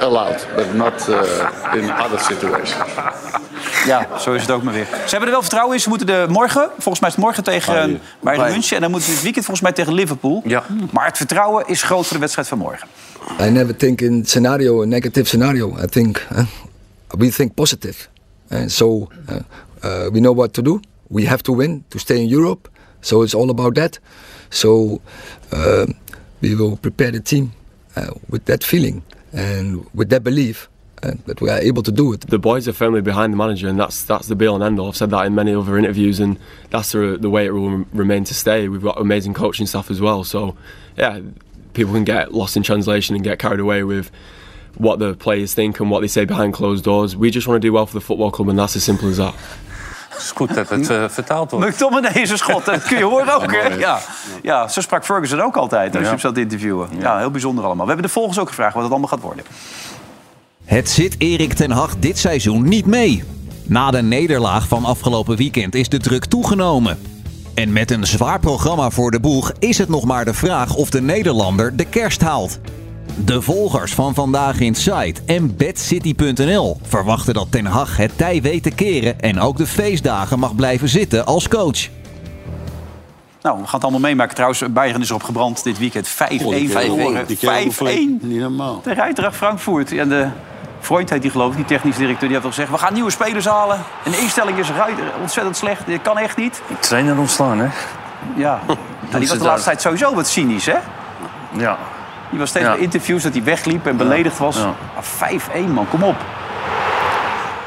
allowed, but not uh, in other situations. Ja, zo is het ook maar weer. Ze hebben er wel vertrouwen in. Ze moeten de morgen, volgens mij is het morgen tegen eh, Bayern München... en dan moeten ze het weekend volgens mij tegen Liverpool. Maar het vertrouwen is groot voor de wedstrijd van morgen. I never think in scenario, a negative scenario. I think uh, we think positive, and so uh, uh, we know what to do. We have to win to stay in Europe. So it's all about that. So uh, we will prepare the team uh, with that feeling and with that belief uh, that we are able to do it. The boys are firmly behind the manager, and that's that's the be all and end all. I've said that in many other interviews, and that's the, the way it will remain to stay. We've got amazing coaching staff as well, so yeah, people can get lost in translation and get carried away with what the players think and what they say behind closed doors. We just want to do well for the football club, and that's as simple as that. Het is goed dat het eh, vertaald wordt. McTominay is een schot, dat kun je horen ook. Hè? Ja. ja, zo sprak Ferguson ook altijd als je Ja. hem zat te interviewen. Ja, heel bijzonder allemaal. We hebben de volgers ook gevraagd wat het allemaal gaat worden. Het zit Erik ten Hag dit seizoen niet mee. Na de nederlaag van afgelopen weekend is de druk toegenomen. En met een zwaar programma voor de boeg is het nog maar de vraag of de Nederlander de kerst haalt. De volgers van Vandaag in Sight en BadCity.nl verwachten dat Ten Hag het tij weet te keren en ook de feestdagen mag blijven zitten als coach. Nou, we gaan het allemaal meemaken. Trouwens, Bayern is erop gebrand dit weekend. 5-1 verloren. 5-1. Niet normaal. De Rijdrag Frankfurt. En de Freund heet die geloof ik, die technisch directeur. Die heeft al gezegd, we gaan nieuwe spelers halen. En de instelling is ruit- ontzettend slecht. Dit kan echt niet. Trainer ontslaan, hè? Ja. Nou, Doen die was ze de daar. laatste tijd sowieso wat cynisch, hè? Ja. Die was steeds Ja. bij interviews dat hij wegliep en beledigd was. Ja. Ah, 5-1, man. Kom op.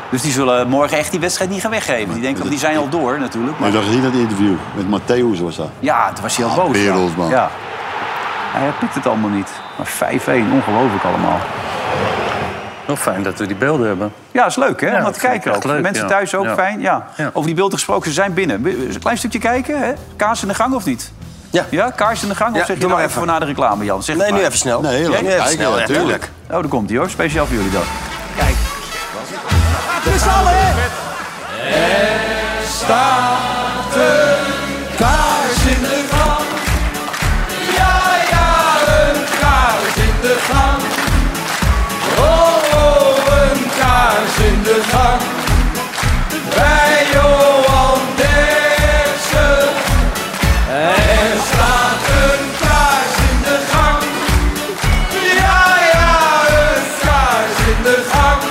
Dus die zullen morgen echt die wedstrijd niet gaan weggeven. Die denken, die zijn al door natuurlijk. Maar Maar ik zag niet dat interview met Matthäus was dat. ja, toen was hij heel Ah, boos. ja. wereldman. Ja. Hij pikt het allemaal niet. Maar 5-1, ongelooflijk allemaal. Wel fijn dat we die beelden hebben. Ja, is leuk hè, om Ja, dat te dat vind ik kijken ook. echt leuk, Mensen ja. thuis ook, Ja. fijn. Ja. Over die beelden gesproken, ze zijn binnen. Wil- wil je Een klein stukje kijken, hè? Kaars in de gang of niet? Ja. Ja, kaars in de gang? Ja, of zeg je doe nou maar even voor na de reclame, Jan? Zeg Nee, het maar. nu even snel. Nee, heel Ja, leuk. nu Kijken, ja, tuurlijk. Oh, daar komt hij hoor. Speciaal voor jullie dan. Ah, Er staat een kaars in de gang. Ja, ja, een kaars in de gang. Oh, oh, een kaars in de gang. Bij Johan Derksen. Er staat een kaars in de gang. Ja, ja, een kaars in de gang.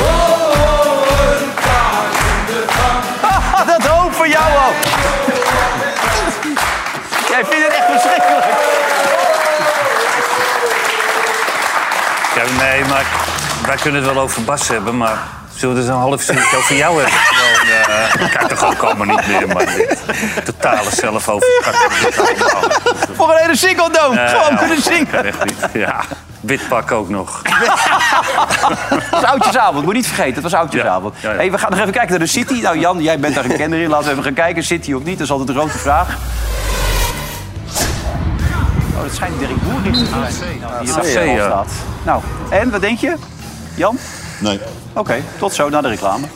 Oh, oh, een kaars in de gang. Haha, Ah, dat hoop voor jou al. Jij vindt het echt verschrikkelijk. Ja, nee, maar wij kunnen het wel over Bas hebben, maar zullen we dus een half uurtje over jou hebben? Gewoon, eh, dat kan toch ook allemaal niet meer, man. Dit Totale zelfoverschatting. Voor een hele singeldome. Nee, Gewoon Eh, ja, kunnen dat zingen. kan echt niet. Ja, wit pak ook nog. Dat was oudjesavond, moet niet vergeten. Dat was oudjesavond. ja. Hey, we gaan nog even kijken naar de City. Nou Jan, jij bent daar een kenner in. Laten we even gaan kijken, City of niet. Dat is altijd een grote vraag. Oh, dat schijnt Dirk Boer niet te zijn. Nou, die AC, in de ja. staat. Nou, en wat denk je? Jan? Nee. Oké, tot zo, naar de reclame.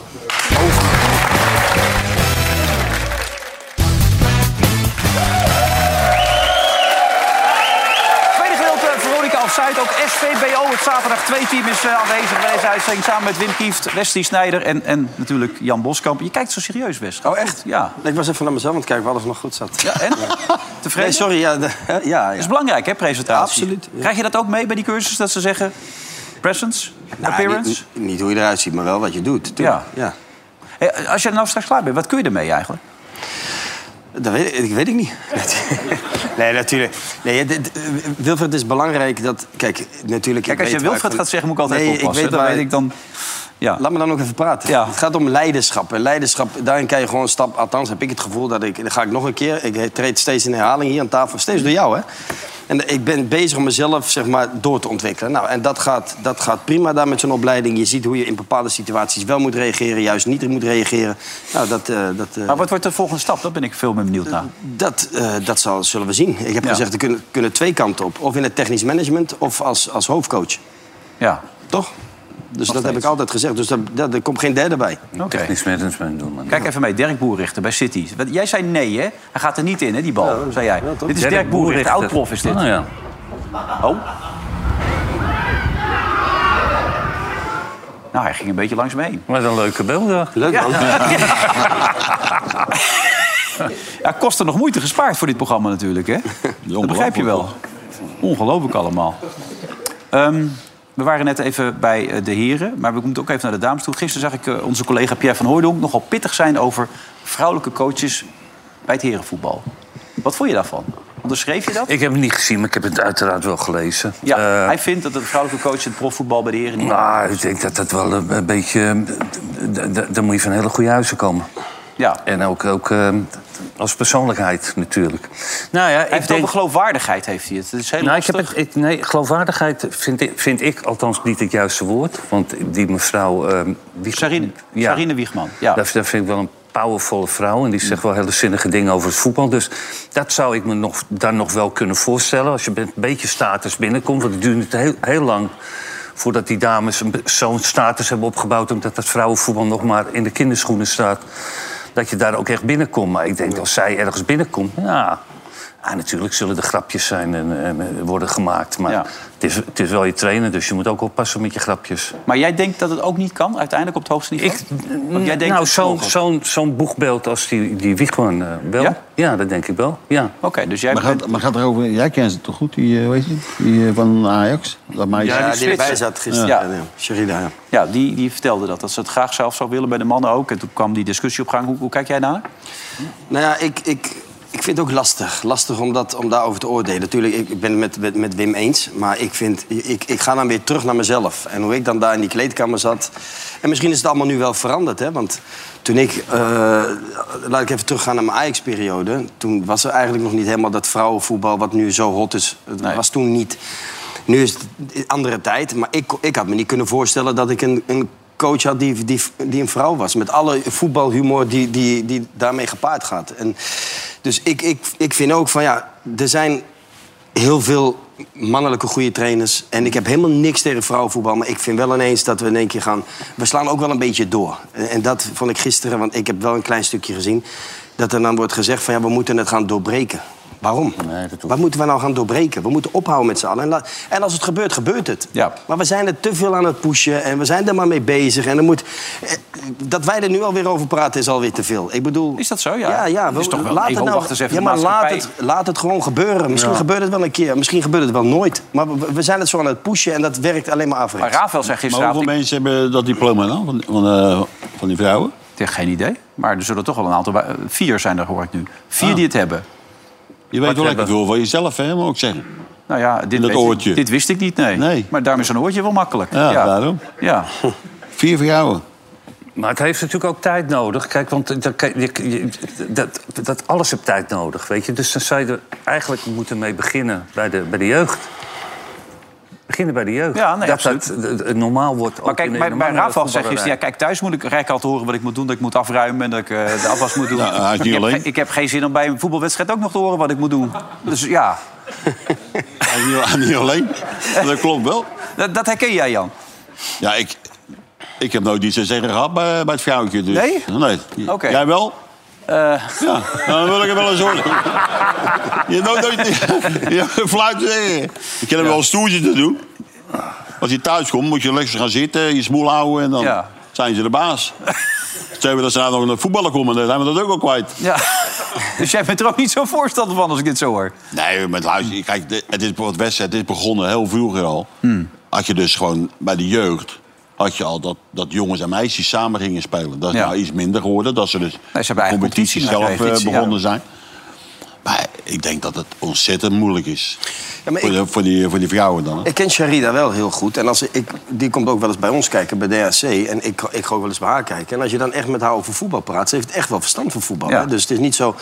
Tweede gedeelte, Veronica Offside. Ook SVBO, het zaterdag 2-team is eh, aanwezig bij deze uitzending. Samen met Wim Kieft, Wesley Snijder en, en natuurlijk Jan Boskamp. Je kijkt zo serieus, Wes. Oh, echt? Ja. Ik was even naar mezelf aan het kijken of alles nog goed zat. Ja, en? Tevreden? Nee, sorry, ja, de- ja, ja. Dat is belangrijk, hè, presentatie? Absoluut, ja. Krijg je dat ook mee bij die cursus, dat ze zeggen... presence, Nou, appearance? Niet, niet- niet hoe je eruit ziet, maar wel wat je doet. Ja. ja. Hey, als je nou straks klaar bent, wat kun je ermee eigenlijk? Dat weet, ik- weet ik niet. nee, natuurlijk. Nee, dit- eh, Wilfred het is belangrijk dat... Kijk, natuurlijk... Kijk, als je Wilfred gaat zeggen, moet ik altijd nee, oppassen. Ik weet Dan waar- weet ik dan... Ja. Laat me dan ook even praten. Het gaat om leiderschap. En leiderschap, daarin kan je gewoon een stap... Althans heb ik het gevoel dat ik... Dan ga ik nog een keer... Ik treed steeds in herhaling hier aan tafel. Steeds door jou, hè? En ik ben bezig om mezelf zeg maar, door te ontwikkelen. Nou, en dat gaat, dat gaat prima daar met zo'n opleiding. Je ziet hoe je in bepaalde situaties wel moet reageren... juist niet moet reageren. Nou, dat... eh, dat eh, Maar wat wordt de volgende stap? Daar ben ik veel meer benieuwd naar. dat, eh, dat zal, zullen we zien. Ik heb Ja. gezegd, er kunnen, kunnen twee kanten op. Of in het technisch management of als, als hoofdcoach. Ja. Toch? Dus dat heb ik altijd gezegd. Dus daar, daar, daar komt geen derde bij. Oké. Technisch management doen, man. Kijk even mee, Dirk Boerrichter bij City. Wat- Jij zei nee, hè? Hij gaat er niet in, hè, die bal, zei jij. dit is Dirk, Boerrichter, oud-prof is dit. Oh, ja. Oh. Nou, hij ging een beetje langs me heen. Wat een leuke beelden. Leuk, man. Ja. Ja, kosten nog moeite gespaard voor dit programma natuurlijk, hè? Dat begrijp je wel. Ongelooflijk allemaal. Ehm, we waren net even bij eh, de heren, maar we moeten ook even naar de dames toe. Gisteren zag ik eh, onze collega Pierre van Hooydonk nogal pittig zijn over vrouwelijke coaches bij het herenvoetbal. Wat vond je daarvan? Onderschreef je dat? Ik heb het niet gezien, maar ik heb het uiteraard wel gelezen. Ja, Eh, hij vindt dat de vrouwelijke coach in het profvoetbal bij de heren niet... Nou, ik denk dat dat wel een, een beetje... eh, d- d- Daar moet je van hele goede huizen komen. Ja. En ook, ook eh, als persoonlijkheid natuurlijk. Nou ja, ik heeft denk- over geloofwaardigheid heeft hij het. Het is heel nou, ik lastig. heb het, ik, nee, geloofwaardigheid vind ik, vind ik althans niet het juiste woord. Want die mevrouw... ehm Sarine, Wiegman. Ja. Dat, dat vind ik wel een powervolle vrouw. En die zegt wel hele zinnige dingen over het voetbal. Dus dat zou ik me nog, dan nog wel kunnen voorstellen. Als je met een beetje status binnenkomt. Want het duurt niet heel, heel lang voordat die dames een be- zo'n status hebben opgebouwd... omdat dat vrouwenvoetbal nog maar in de kinderschoenen staat... dat je daar ook echt binnenkomt. Maar ik denk, als zij ergens binnenkomt... ja, ja, natuurlijk zullen er grapjes zijn en, en, eh, worden gemaakt. Maar het, is, het is wel je trainer, dus je moet ook oppassen met je grapjes. Maar jij denkt dat het ook niet kan, uiteindelijk op het hoogste niveau? Want jij denkt nou, dat het zo'n nog- zo'n zo'n boegbeeld als die, die Wiegman eh, wel. Ja? dat denk ik wel. Ja. Oké, dus jij maar gaat, maar gaat erover, jij kent ze toch goed, die, eh, weet je, die eh, van Ajax? Dat meisje. Ja, die erbij zat gisteren. Ja. Sherida, ja. die, die vertelde dat. Dat ze het graag zelf zou willen bij de mannen ook. En toen kwam die discussie op gang. Hoe, hoe kijk jij naar? Nou ja, ik, ik, ik vind het ook lastig. Lastig om, dat, om daarover te oordelen. Natuurlijk, ik ik ben het met, met, met Wim eens. Maar ik, vind, ik, ik ga dan weer terug naar mezelf. En hoe ik dan daar in die kleedkamer zat. En misschien is het allemaal nu wel veranderd. Hè? Want toen ik... eh, laat ik even teruggaan naar mijn Ajax-periode. Toen was er eigenlijk nog niet helemaal dat vrouwenvoetbal... wat nu zo hot is. Het was toen niet... Nu is het een andere tijd. Maar ik, ik had me niet kunnen voorstellen dat ik een, een coach had die, die, die een vrouw was. Met alle voetbalhumor die, die, die daarmee gepaard gaat. En dus ik, ik, ik vind ook van ja, er zijn heel veel mannelijke goede trainers. En ik heb helemaal niks tegen vrouwenvoetbal. Maar ik vind wel ineens dat we in één keer gaan... We slaan ook wel een beetje door. En en dat vond ik gisteren, want ik heb wel een klein stukje gezien... dat er dan wordt gezegd van ja, we moeten het gaan doorbreken. Waarom? Wat moeten we nou gaan doorbreken? We moeten ophouden met z'n allen. En, la- en als het gebeurt, gebeurt het. Maar we zijn er te veel aan het pushen en we zijn er maar mee bezig. En er moet, eh, dat wij er nu alweer over praten is alweer te veel. Ik bedoel... Is dat zo? Ja. Ja, ja Het is we- toch wel- laat ik het hoop, nou, wacht eens even, ja de maar laat maatschappij- het, laat het gewoon gebeuren. Misschien Ja. gebeurt het wel een keer, misschien gebeurt het wel nooit. Maar we, we zijn het zo aan het pushen en dat werkt alleen maar afrecht. Maar Rafael zei Maar hoeveel gisteravond... mensen hebben dat diploma dan, van, van, eh, van die vrouwen? Ik heb geen idee. Maar er zullen toch wel een aantal... bij- eh, Vier zijn er, hoor ik nu. Ah. Vier die het hebben. Je weet wel lekker veel van jezelf, hè, moet ik zeggen. Nou ja, dit, dat weet ik- oortje. dit wist ik niet, nee. Maar daarom is een oortje wel makkelijk. Ja, daarom. Ja. Vier vrouwen. Maar het heeft natuurlijk ook tijd nodig. Kijk, want dat, je- je- dat, dat alles heeft tijd nodig, weet je. Dus dan zou je er eigenlijk moeten mee beginnen bij de, bij de jeugd. Beginnen bij de jeugd. Ja, nee, dat dat eh, normaal wordt. Maar kijk, bij, bij Rafael zegt gisteren... Ja, kijk, thuis moet ik rijk al te horen wat ik moet doen. Dat ik moet afruimen en dat ik eh, de afwas moet doen. Nou, hij is niet ik, heb, alleen. ge- ik heb geen zin om bij een voetbalwedstrijd ook nog te horen wat ik moet doen. Dus ja. niet, niet alleen. Dat klopt wel. Dat, dat herken jij, Jan? Ja, ik, ik heb nooit iets te zeggen gehad bij, bij het vrouwtje. Dus. Nee? Nee. Oké. Jij wel? Eh. Ja, dan wil ik het wel eens horen. Je hebt nooit, nooit je fluit zeggen. Ik kan hem wel een stoeltje te doen. Als je thuis komt, moet je lekker gaan zitten, je smoel houden en dan zijn ze de baas. Stel je dat ze nou nog naar voetballen komen, dan zijn we dat ook al kwijt. Ja. Dus jij bent er ook niet zo'n voorstander van als ik dit zo hoor? Nee, met luister, kijk, de- het is wat wedstrijd, het is begonnen heel vroeger al. Had je dus gewoon bij de jeugd, had je al dat, dat jongens en meisjes samen gingen spelen. Dat is nou iets minder geworden, dat ze dus de competitie competitie zelf eh, gekregen, ja. begonnen zijn. Maar ik denk dat het ontzettend moeilijk is. maar voor, de- voor, die, voor die vrouwen dan. hè. Ik ken Sharida wel heel goed. En als ik, die komt ook wel eens bij ons kijken, bij DHC. En ik, ik ga ook wel eens bij haar kijken. En als je dan echt met haar over voetbal praat... ze heeft echt wel verstand van voetbal. Ja. Hè? Dus het is niet zo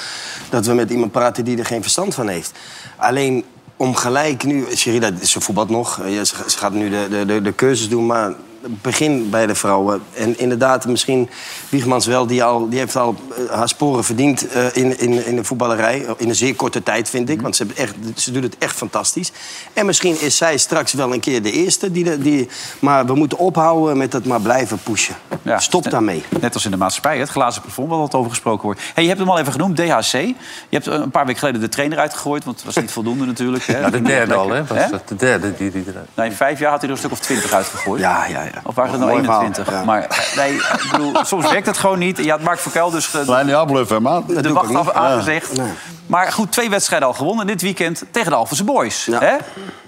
dat we met iemand praten die er geen verstand van heeft. Alleen om gelijk nu... Sharida, ze voetbalt nog. Eh, ja, Ze, ze gaat nu de, de, de, de cursus doen, maar... Begin bij de vrouwen. En inderdaad, misschien Wiegmans wel, die, al, die heeft al eh, haar sporen verdiend eh, in, in, in de voetballerij. In een zeer korte tijd, vind ik. Want ze, hebben echt, ze doet het echt fantastisch. En misschien is zij straks wel een keer de eerste. Die de- die, maar we moeten ophouden met dat maar blijven pushen. Ja. Stop daarmee. Net als in de maatschappij, het glazen plafond waar wat over gesproken wordt. Hey, je hebt hem al even genoemd, DHC. Je hebt eh, een paar weken geleden de trainer uitgegooid, want het was niet voldoende natuurlijk. Hè? Ja, de derde al, hè? Hè? Was eh, dat de derde die, die eruit... Nou, in vijf jaar had hij er een stuk of twintig uitgegooid. Ja, ja, ja. Of waren het nou Mooi verhaal, 21? ja. Maar eh, nee, ik bedoel, soms werkt het gewoon niet. Je had Mark Verkuil dus ge- Kleine abluff, hè, maat? de doe ik wacht ook af niet. aangezegd. Ja. Maar goed, twee wedstrijden al gewonnen dit weekend tegen de Alphense Boys. Hè?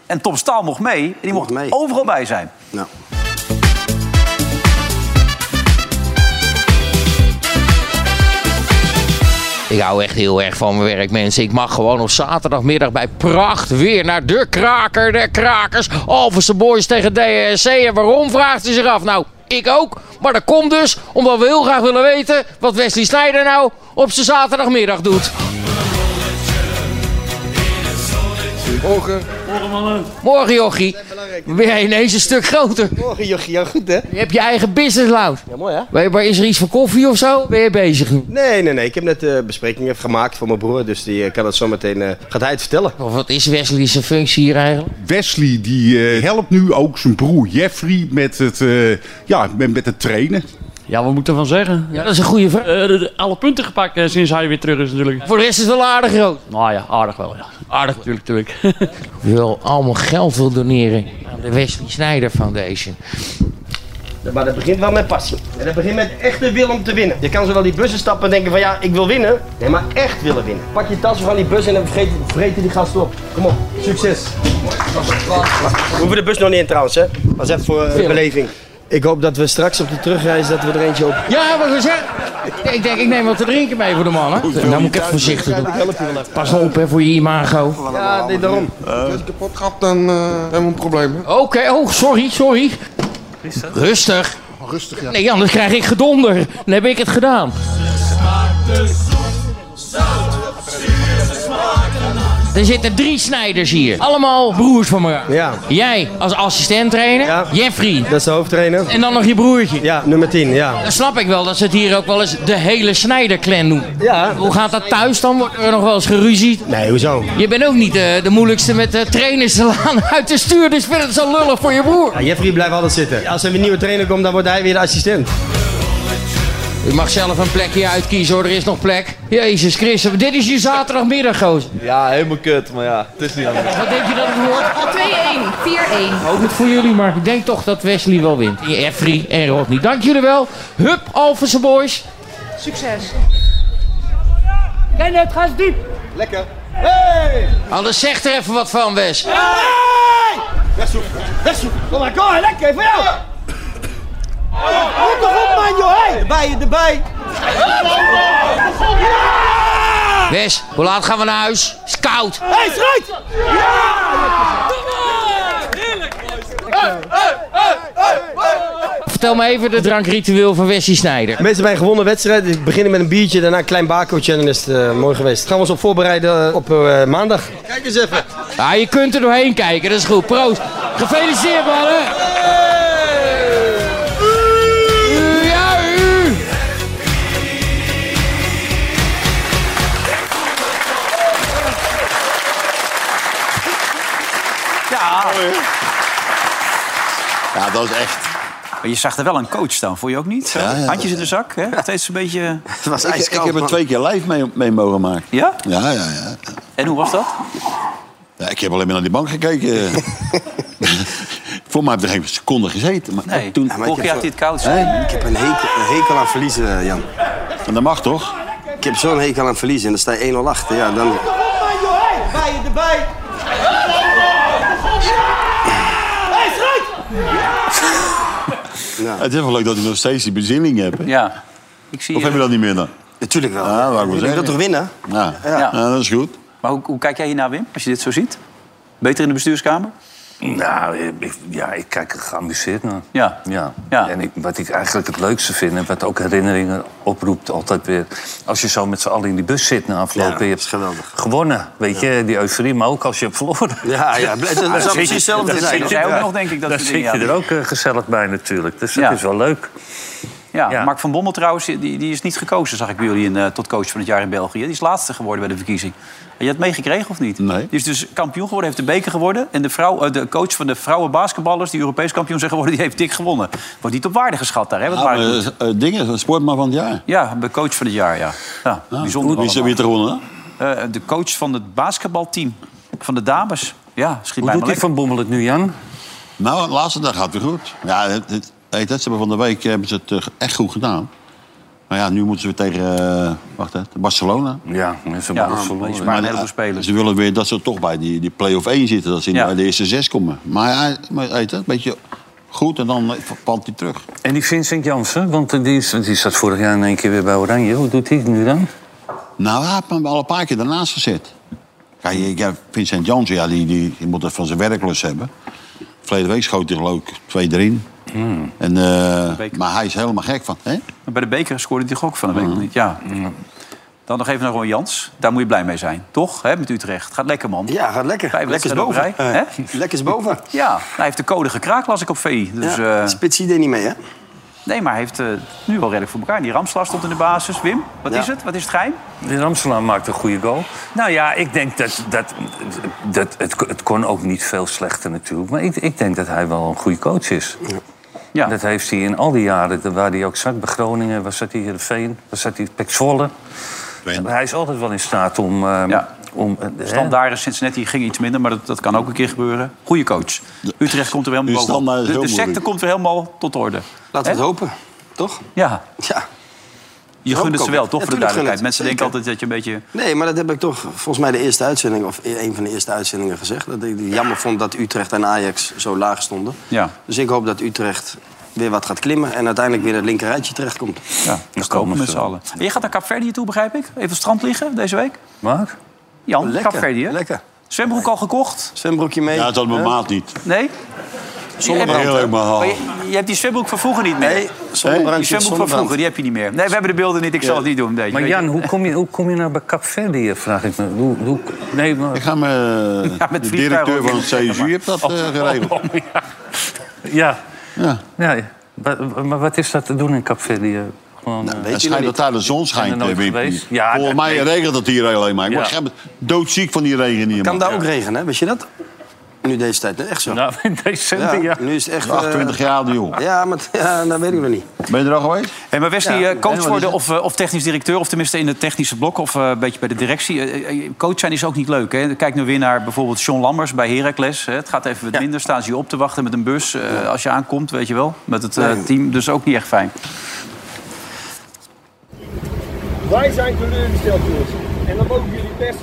En Tom Staal mocht mee en die mocht, overal bij zijn. Nou. Ik hou echt heel erg van mijn werk, mensen. Ik mag gewoon op zaterdagmiddag bij pracht weer naar de kraker der krakers. Alverse Boys tegen DSC. En waarom vraagt u zich af? Nou, Ik ook. Maar dat komt dus omdat we heel graag willen weten wat Wesley Sneijder nou op zijn zaterdagmiddag doet. Morgen. Morgen mannen. Morgen jochie. Ben jij ineens een stuk groter. Morgen jochie, ja goed hè? Je hebt je eigen business lounge. Ja mooi hè? Weet- Maar is er iets voor koffie of zo? Ben je bezig? Nee, nee, nee. Ik heb net de besprekingen gemaakt voor mijn broer, dus die eh, kan het zo meteen, eh, gaat hij het vertellen. Wat is Wesley zijn functie hier eigenlijk? Wesley die eh, helpt nu ook zijn broer Jeffrey met het, eh, ja, met, met het trainen. Ja, wat moet ervan zeggen? Ja, dat is een goede vraag. alle punten gepakt eh, sinds hij weer terug is natuurlijk. Voor de rest is het wel aardig groot. Nou ja, aardig wel. Ja. Aardig, natuurlijk, natuurlijk. Wil allemaal geld wil doneren aan de Wesley Sneijder Foundation. Maar dat begint wel met passie. En dat begint met echte wil om te winnen. Je kan zowel die bussen stappen en denken van ja, ik wil winnen. Nee, maar echt willen winnen. Pak je tassen van die bus en dan vergeet- vreten die gasten op. Kom op, succes. We hoeven de bus nog niet in trouwens, hè? Dat is echt voor eh, Film. beleving. Ik hoop dat we straks op de terugreis dat we er eentje op... Ja, wat we zeggen. Ik denk, ik neem wat te drinken mee voor de mannen. Nou moet ik even voorzichtig doen. Pas op hè, voor je imago. Ja, nee, daarom. Als ik kapot gaat, dan eh, hebben we een probleem. hè? Oké, oh, sorry, sorry. Rustig. Rustig, ja. Nee, anders krijg ik gedonder. Dan heb ik het gedaan. Er zitten drie snijders hier. Allemaal broers van elkaar. Ja. Jij als assistent trainer. Jeffrey. Dat is de hoofdtrainer. En dan nog je broertje. Ja, nummer 10, ja. Dan snap ik wel dat ze het hier ook wel eens de hele snijderclan doen. Ja. Hoe gaat dat thuis dan? Wordt er nog wel eens geruzied? Nee, hoezo? Je bent ook niet eh, de moeilijkste met eh, trainers te laan uit de stuur. Dus vind het zo lullig voor je broer. Ja, Jeffrey blijft altijd zitten. Als er weer een nieuwe trainer komt, dan wordt hij weer de assistent. U mag zelf een plekje uitkiezen hoor, er is nog plek. Jezus Christus, dit is je zaterdagmiddag, gozer. Ja, helemaal kut, maar ja, het is niet anders. Wat denk je dat het wordt? 2-1, 4-1. Ook niet voor jullie, maar ik denk toch dat Wesley wel wint. Jeffrey en Rodney, dank jullie wel. Hup, Alphense boys. Succes. Dennis, ga eens diep. Lekker. Hey! Anders zegt er even wat van, Wes. Hey! Wegzoeken, wegzoeken. Kom maar, kom maar, lekker, voor jou. Kom toch op, man, joh, hey! Erbij, erbij. Wes, hoe laat gaan we naar huis? Het is koud. Hé, hey, schrijf! Ja! Vertel me even de drankritueel van Wesley Snijder. Mensen bij een gewonnen wedstrijd die beginnen met een biertje, daarna een klein bakeltje en dan is het eh, mooi geweest. Gaan we ons op voorbereiden op eh, maandag. Kijk eens even. Ja, je kunt er doorheen kijken, dat is goed. Proost. Gefeliciteerd, mannen. U, Ja, u. Ja. Ja, dat is echt. Maar je zag er wel een coach staan, vond je ook niet? Handjes in de zak, hè? Steeds een beetje... Het Ik, ik heb er twee keer live mee, mee mogen maken. Ja? Ja, ja, ja. En hoe was dat? Ja, ik heb alleen maar naar die bank gekeken. Voor mij heb ik er geen seconde gezeten. Maar Nee, toen, vorig jaar had hij het koud. Ik heb Een hekel, een hekel aan verliezen, eh, Jan. En dat mag toch? Ik heb zo'n hekel aan verliezen en dan sta je 1-0 achter. Ja, dan... Erbij, erbij. Hey, Het is wel leuk dat ik nog steeds die bezinning heb. Ja. Ik zie of heb je dat niet meer dan? Natuurlijk wel. Ja, dat Je wilt toch winnen? Ja. Ja. Ja. dat is goed. Maar hoe, hoe kijk jij hiernaar, Wim, als je dit zo ziet? Beter in de bestuurskamer? Nou, eh, ik, ja, ik kijk er geamuseerd naar. Ja. ja. En ik, wat ik eigenlijk het leukste vind... en wat ook herinneringen oproept altijd weer... als je zo met z'n allen in die bus zit na afloop... en je hebt gewonnen, weet je, die euforie. Maar ook als je hebt verloren. Ja, ja, het zou Dan zit precies je- hetzelfde dan zijn. zit Dat je jij ook daar- nog, denk ik, Dan dat soort zit dingen, je ja. er ook eh, gezellig bij natuurlijk. Dus dat Ja. is wel leuk. Ja, Mark van Bommel trouwens, die, die is niet gekozen, zag ik bij jullie, in, eh, tot coach van het jaar in België. Die is laatste geworden bij de verkiezing. Had je dat meegekregen of niet? Nee. Die is dus kampioen geworden, heeft de beker geworden. En de, vrouw, eh, de coach van de vrouwenbasketballers, die Europees kampioen zijn geworden, die heeft dik gewonnen. Wordt niet op waarde geschat daar, hè? Wat Ja, maar, waarde doet. eh, eh, dingen, een sportman van het jaar. Ja, bij coach van het jaar, ja. ja bijzonder Wie is allemaal. er weer te gewonnen? Eh, de coach van het basketbalteam, van de dames. Ja, schiet Hoe mij doet maar die Van Bommel het nu, Jan? Nou, de laatste dag gaat weer goed. Ja, het, het, hey, dat ze hebben van de week hebben ze het eh, echt goed gedaan. Maar ja, nu moeten ze weer tegen eh, wacht, hè, Barcelona. Ja, ze Ja, Barcelona. maar je spaart een de- heleboel spelers. Ze willen weer dat ze toch bij die, die play-off 1 zitten. Dat ze in bij de eerste zes komen. Maar, ja, maar hey, dat, een beetje goed en dan valt hij terug. En die Vincent Jansen, want eh, die, is, die zat vorig jaar in één keer weer bij Oranje. Hoe doet hij het nu dan? Nou, hij heeft me al een paar keer daarnaast gezet. Kijk, ik heb Vincent Janssen, ja, die, die, die moet het van zijn werklust hebben. Verleden week schoot hij geloof ik twee erin. Hmm. En, eh, maar hij is helemaal gek van. Hè? Bij de beker scoorde hij toch ook van de week Mhm. niet? Ja. Dan nog even naar Ron Jans. Daar moet je blij mee zijn, toch? Hè, met Utrecht. Gaat lekker, man. Ja, gaat lekker. Vijf Lekkers wedstrijden op boven. rij, Eh, hè? lekkers boven. Ja, hij heeft de code gekraakt, las ik op VI. Dus, Ja, Spits idee niet mee, hè? Nee, maar hij heeft eh, het nu wel redelijk voor elkaar. Die Ramslaar stond in de basis. Wim, wat Ja. is het? Wat is het geheim? De Ramselaar maakt een goede goal. Nou ja, ik denk dat... dat, dat het, het kon ook niet veel slechter natuurlijk. Maar ik, ik denk dat hij wel een goede coach is. Ja. eh, Dat heeft hij in al die jaren, dat- waar hij ook zat bij Groningen... was dat hij Heerenveen, was dat hij Pek Zwolle. Hij is altijd wel in staat om... eh, om eh, hè? Standaarden Cincinnati ging iets minder, maar dat, dat kan ook een keer gebeuren. Goede coach. Utrecht komt er helemaal De bovenop. standaard is De, de heel secte moeilijk. komt er helemaal tot orde. Laten we Hè? het hopen, toch? Ja. Ja. Je Hoop gunt het ik ze ook. wel, toch? voor de Ja, tuurlijk gun ik duidelijkheid. het. Mensen denken Zeker. altijd dat je een beetje... Nee, maar dat heb ik toch volgens mij de eerste uitzending... of een van de eerste uitzendingen gezegd. Dat ik het jammer vond dat Utrecht en Ajax zo laag stonden. Ja. Dus ik hoop dat Utrecht weer wat gaat klimmen... en uiteindelijk weer in het linkerrijtje terechtkomt. Ja, dat komen met z'n allen. En je gaat naar Kaapverdië toe, begrijp ik? Even op het strand liggen deze week? Wat? Jan, Lekker, Kaapverdië. Lekker. Zwembroek al gekocht? Zwembroekje mee. Ja, dat mijn maat niet. Nee? Zonnebrand, hè? Heerlijk, maar half. Maar je, je hebt die zwembroek van vroeger niet meer. Nee, zonnebrandje, Die zwembroek van zonnebrand. vroeger, die heb je niet meer. Nee, we hebben de beelden niet. Ik zal Ja. het niet doen. Nee, Maar weet Jan, je. hoe kom je, hoe kom je nou bij Capverdi, vraag ik me. Hoe, hoe, nee, maar... Ik ga me... Ja, met Oh. de directeur van het CSU heeft dat eh, geregeld. ja. Ja. Wa- wa- Maar wat is dat te doen in Capverdi? Gewoon, eh, Het schijnt dat daar de zon er schijnt, nooit eh, Wim. geweest? Ja, Volgens dat- mij nee. regent het hier alleen maar. Ik word Ja. gem- doodziek van die regen hier. Kan man. daar ook regenen, hè? weet je dat? Nu deze tijd, echt zo. Nou, in december, ja. Nu is het echt... eh, 28 graden, joh. Ja, maar t- ja, dat weet ik nog niet. Ben je er al geweest? Hey, maar Wesley, Ja, eh, coach nee, wat worden is of, eh, of technisch directeur... of tenminste in het technische blok of eh, een beetje bij de directie. Eh, eh, Coach zijn is ook niet leuk. Hè? Kijk nu weer naar bijvoorbeeld Sean Lammers bij Heracles. Hè? Het gaat even wat minder. Staan ze je op te wachten met een bus eh, als je aankomt, weet je wel. Met het eh, Nee. team, dus ook niet echt fijn. Wij zijn teleurgesteld, jongens. En dan mogen jullie best.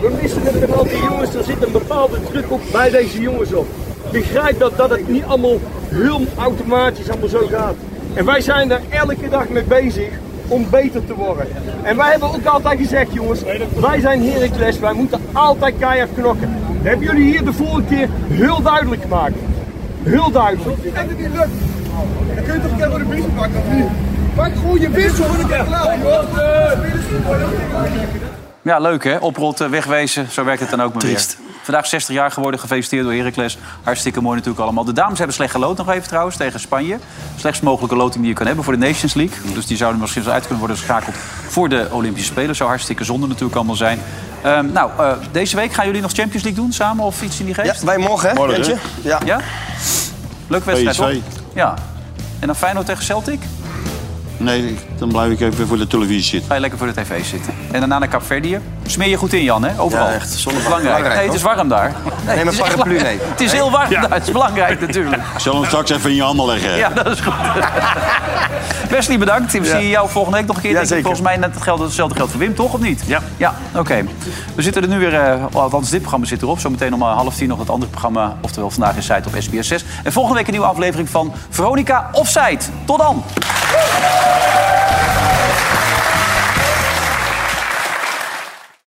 We missen het met al die jongens. Er zit een bepaalde druk op bij deze jongens op. Begrijp dat, dat het niet allemaal heel automatisch allemaal zo gaat. En wij zijn daar elke dag mee bezig om beter te worden. En wij hebben ook altijd gezegd, jongens, wij zijn Heracles, wij moeten altijd keihard knokken. Dat hebben jullie hier de vorige keer heel duidelijk gemaakt. Heel duidelijk. En het niet lukt. Dan kun je toch een keer voor de brief pakken, of niet? Pak gewoon je wissel, want ik ben klaar, joh. Ja, leuk hè? Oprotten, wegwezen. Zo werkt het dan ook maar weer. Vandaag 60 jaar geworden, gefeliciteerd door Heracles. Hartstikke mooi natuurlijk allemaal. De dames hebben slecht geloot nog even trouwens tegen Spanje. Slechtst mogelijke loting die je kan hebben voor de Nations League. Dus die zouden misschien zo uit kunnen worden geschakeld voor de Olympische Spelen. Zou hartstikke zonde natuurlijk allemaal zijn. Ehm, nou, eh, deze week gaan jullie nog Champions League doen samen of iets in die geest? Ja, wij morgen, hè? Morgen, Jantje? Ja. ja? Leuk wedstrijd, PSV. toch? Ja. En dan Feyenoord tegen Celtic? Nee, ik- dan blijf ik even voor de televisie zitten. Ga je lekker voor de tv zitten. En daarna naar Capverdië. Smeer je goed in, Jan, hè? Overal. Ja, echt. Zonnebrand. Belangrijk. Belangrijk, Nee, het is hoor. warm daar. Neem een het is echt paraplu wa- mee. Het is heel warm daar. Het is belangrijk natuurlijk. Ik zal hem straks even in je handen leggen. Ja, dat is goed. Wesley, bedankt. Ik zie jou volgende week nog een keer. denk ik. Volgens mij net het geld, hetzelfde geldt voor Wim, toch? Of niet? Ja. Ja, oké. We zitten er nu weer... eh, althans, dit programma zit erop. Zometeen om eh, half tien nog het andere programma. Oftewel, vandaag is Site op SBS6. En volgende week een nieuwe aflevering van Veronica Offside. Tot dan!